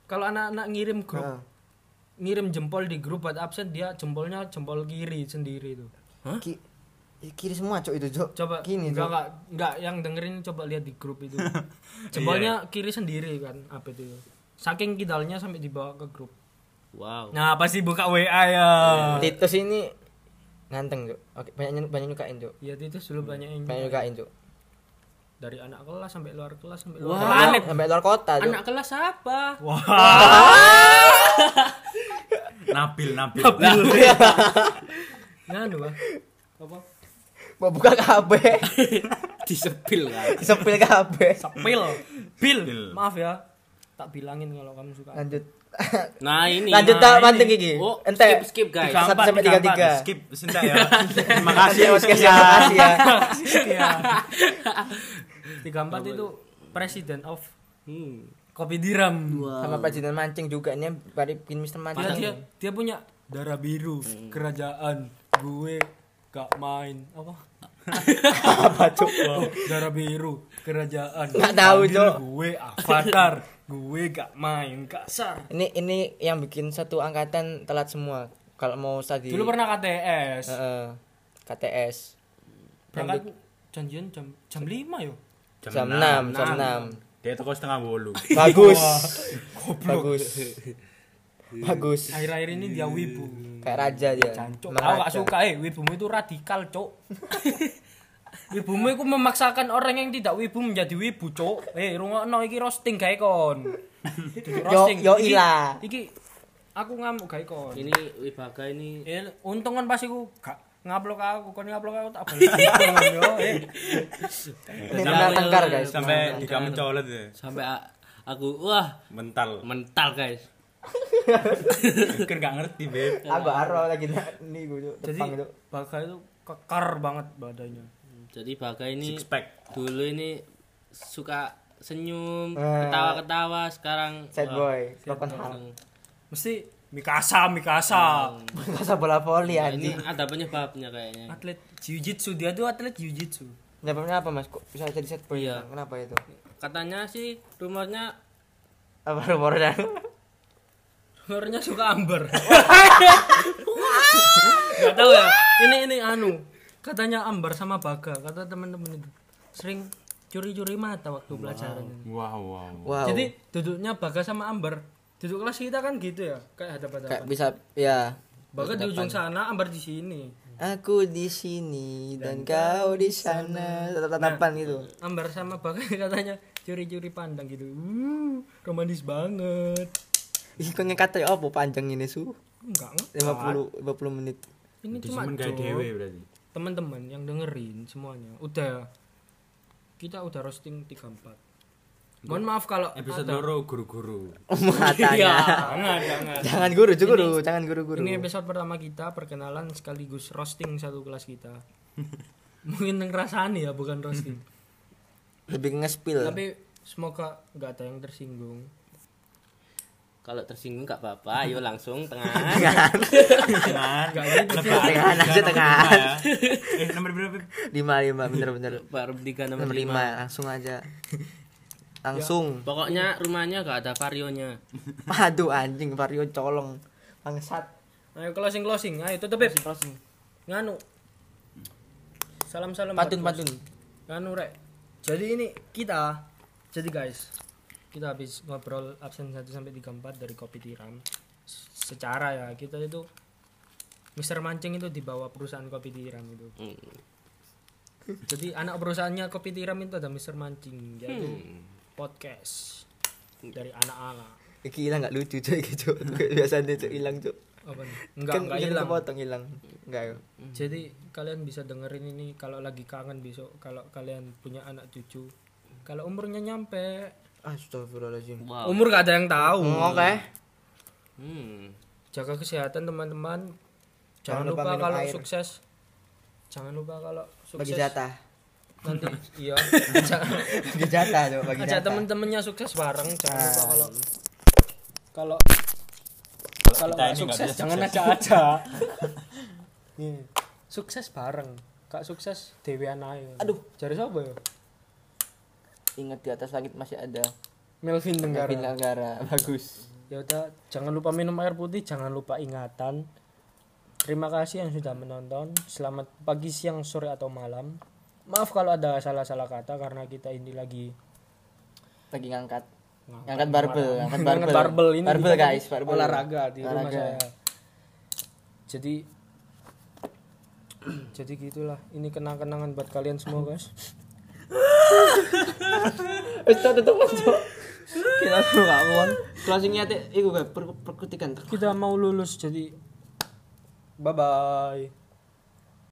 S1: kalau anak-anak ngirim grup
S2: Heeh.
S1: ngirim jempol di grup buat absen dia jempolnya jempol kiri sendiri itu.
S2: Ki- eh, kiri semua cok itu cok
S1: Coba
S2: gini
S1: enggak,
S2: cok
S1: enggak, enggak, yang dengerin coba lihat di grup itu. Jempolnya kiri sendiri kan apa itu. Saking kidalnya sampai dibawa ke grup.
S4: Oh.
S7: Wow.
S1: Nah, pasti buka WA ya.
S2: titus ini nganteng cok oke banyak banyak nyukain cok
S1: Ya itu dulu banyak yang
S2: banyak nyukain cok
S1: dari anak kelas sampai luar kelas sampai
S2: Sampai
S1: luar
S2: luar- sampai luar kota cok
S7: Anak kelas apa?
S6: Nabil, Nabil. Nah,
S1: nganu Pak. apa
S2: mau buka kabeh
S7: Disepil kan.
S2: sepil kabeh
S1: pil bil
S6: Bil.
S1: maaf ya tak bilangin kalau kamu suka
S2: lanjut
S7: Nah, ini.
S2: lanjut tak
S7: Nah, ini.
S2: manteng gigi
S7: Oh,
S2: ente
S7: skip, skip guys.
S2: Satu sampai tiga tiga.
S6: Skip, sentak ya. Terima
S2: makasih
S6: kasih.
S2: ya terima
S1: Iya.
S2: kasih ya
S1: tiga empat itu president of
S7: Hmm.
S1: kopi diram
S2: sama presiden mancing juga ini bari bikin Mister
S1: dia,
S2: Mancing
S1: dia dia punya darah biru
S2: Hmm.
S1: kerajaan gue gak main apa Oh,
S2: apa cok
S1: darah biru kerajaan
S2: Nggak tahu,
S1: Panggil
S2: Cok.
S1: gue avatar gue gak main kasar
S2: ini ini yang bikin satu angkatan telat semua kalau mau study
S1: dulu pernah KTS
S2: Iya. Heeh. KTS
S1: berangkat Ya kan? janjian jam jam lima yo
S2: jam enam jam enam
S6: Dia toko setengah bolu.
S2: bagus bagus bagus
S1: akhir-akhir ini dia wibu
S2: kayak raja dia
S1: Cancuk,
S2: Emang
S1: aku gak
S2: raja.
S1: suka eh wibumu itu radikal, Cok. wibumu itu memaksakan orang yang tidak wibu menjadi wibu, Cok. Eh, rungokno iki roasting gawe kon. Duduk roasting.
S2: yo
S1: Iki-
S2: ilah.
S1: Iki aku ngamuk gawe kon.
S7: Ini Wibaga ini
S1: Eh, untung kan pas iku gak ngaplok aku, kon ngaplok aku tak balik. Yo, eh.
S2: ini pernah tengkar guys
S6: Sampai di kamu colot ya.
S7: sampai a- aku wah,
S6: Mental.
S7: mental guys.
S6: Kan gak ngerti, Beb.
S2: aku aro lagi ini gue Cok.
S1: Jadi
S2: tepang itu
S1: Bagai itu kekar banget badannya.
S7: Jadi Baga ini
S6: Six pack.
S7: dulu ini suka senyum,
S2: Eh.
S7: ketawa-ketawa, sekarang
S2: sad
S7: wah,
S2: boy broken heart
S7: sekarang-
S1: Mesti Mikasa, Mikasa.
S2: Hmm. masa bola
S1: Iya,
S2: voli
S7: Nah, ini
S2: anjing
S7: ada penyebabnya kayaknya.
S1: Atlet jiu-jitsu dia tuh atlet jiu-jitsu.
S2: Penyebabnya apa mas kok bisa jadi sad boy
S7: Iya.
S2: kenapa itu
S7: Katanya sih rumornya
S2: apa rumornya
S1: Warnanya suka amber. Gak tahu ya. Ini ini anu. Katanya amber sama baga. Kata teman-teman itu sering curi-curi mata waktu pelajaran.
S6: Wow, wow.
S2: wow
S1: Jadi duduknya baga sama amber. Duduk kelas kita kan gitu ya, kayak
S2: kayak
S1: hadap-hadapan.
S2: bisa ya
S1: Baga di ujung sana, amber di sini.
S2: Aku di sini dan, kau di sana. Tatap-tatapan gitu.
S1: Amber sama baga katanya curi-curi pandang gitu. Uh, romantis banget.
S2: Ih, kok ngekata ya apa panjang ini, Su?
S1: Enggak. enggak.
S2: 50 50 menit.
S1: Ini cuma
S6: Cuman gak
S1: joke.
S6: dewe berarti.
S1: teman-teman yang dengerin semuanya udah kita udah roasting 34 mohon maaf kalau
S6: Episode
S1: ada-
S6: loro guru-guru.
S2: Matanya.
S1: jangan jangan
S2: Iya, jangan guru, Ju, guru, jangan guru-guru.
S1: ini episode pertama kita perkenalan sekaligus roasting satu kelas kita mungkin ngerasani ya bukan roasting
S2: Lebih nge-spill.
S1: tapi semoga nggak ada yang tersinggung
S7: kalau tersinggung nggak apa-apa, ayo langsung tengah.
S6: Tangan.
S1: Ah, iya, gitu
S2: Tangan aja tangan.
S6: Eh, nomor berapa?
S2: 5 5 bener-bener.
S7: Baru tiga nomor
S2: Nomor
S7: lima.
S2: 5 langsung aja. Langsung.
S7: Pokoknya rumahnya nggak ada varionya.
S2: Aduh anjing Vario colong. Bangsat.
S1: ayo closing closing ayo tutup Beb. nganu salam salam
S2: Patun patun.
S1: Anu rek. Jadi ini kita. Jadi guys, kita habis ngobrol absen 1 sampai 34 dari Kopi Tiram. S- Secara ya kita itu Mister Mancing itu di bawah perusahaan Kopi Tiram itu.
S7: Hmm,
S1: Jadi anak perusahaannya Kopi Tiram itu ada Mister Mancing. Jadi podcast dari anak-anak.
S2: Iki hilang gak lucu, Cuk. Iki, Cuk. Biasanya, Cuk, hilang, Cuk.
S1: Apa nih? Enggak, enggak hilang.
S2: Potong hilang. Enggak. yuk.
S1: Jadi kalian bisa dengerin ini kalau lagi kangen besok kalau kalian punya anak cucu. Kalau umurnya nyampe,
S2: Astagfirullahaladzim.
S4: Oh.
S7: Wow.
S1: umur gak ada yang tahu.
S2: Hmm, Oh, Oke.
S7: Hmm.
S1: jaga kesehatan teman-teman Jangan
S2: lupa
S1: lupa,
S2: minum
S1: kalau
S2: air.
S1: sukses. Jangan lupa kalau
S2: bagi
S1: sukses
S2: jatah
S1: nanti iya.
S2: bagi jatah coba bagi
S1: Ajak
S2: jatah
S1: temen-temennya sukses bareng. Jangan lupa kalau kalau kalau
S3: kita
S1: nggak
S3: ini nggak
S1: sukses
S3: bisa
S1: jangan
S3: sukses.
S1: aja aja. Sukses bareng. Kak sukses dewean ae. Aduh, jari sapa ya?
S2: ingat di atas langit masih ada
S1: Melvin
S2: Kevin
S1: Tenggara.
S2: Langgara bagus
S1: Ya udah, jangan lupa minum air putih, jangan lupa ingatan. Terima kasih yang sudah menonton. Selamat pagi, siang, sore atau malam. Maaf kalau ada salah-salah kata karena kita ini lagi
S2: lagi ngangkat ngangkat barbel ngangkat barbel
S1: Ngangkat barbel ini
S2: barbel
S1: kita
S2: guys barbel
S1: olahraga di rumah
S2: Olahraga.
S1: saya. Jadi jadi gitulah. Ini kenang-kenangan buat kalian semua, guys.
S2: Wis tak tutup aja. Kita tuh gak kuat. Closingnya teh, iku Beb, per- perkutikan.
S1: Kita mau lulus jadi bye bye.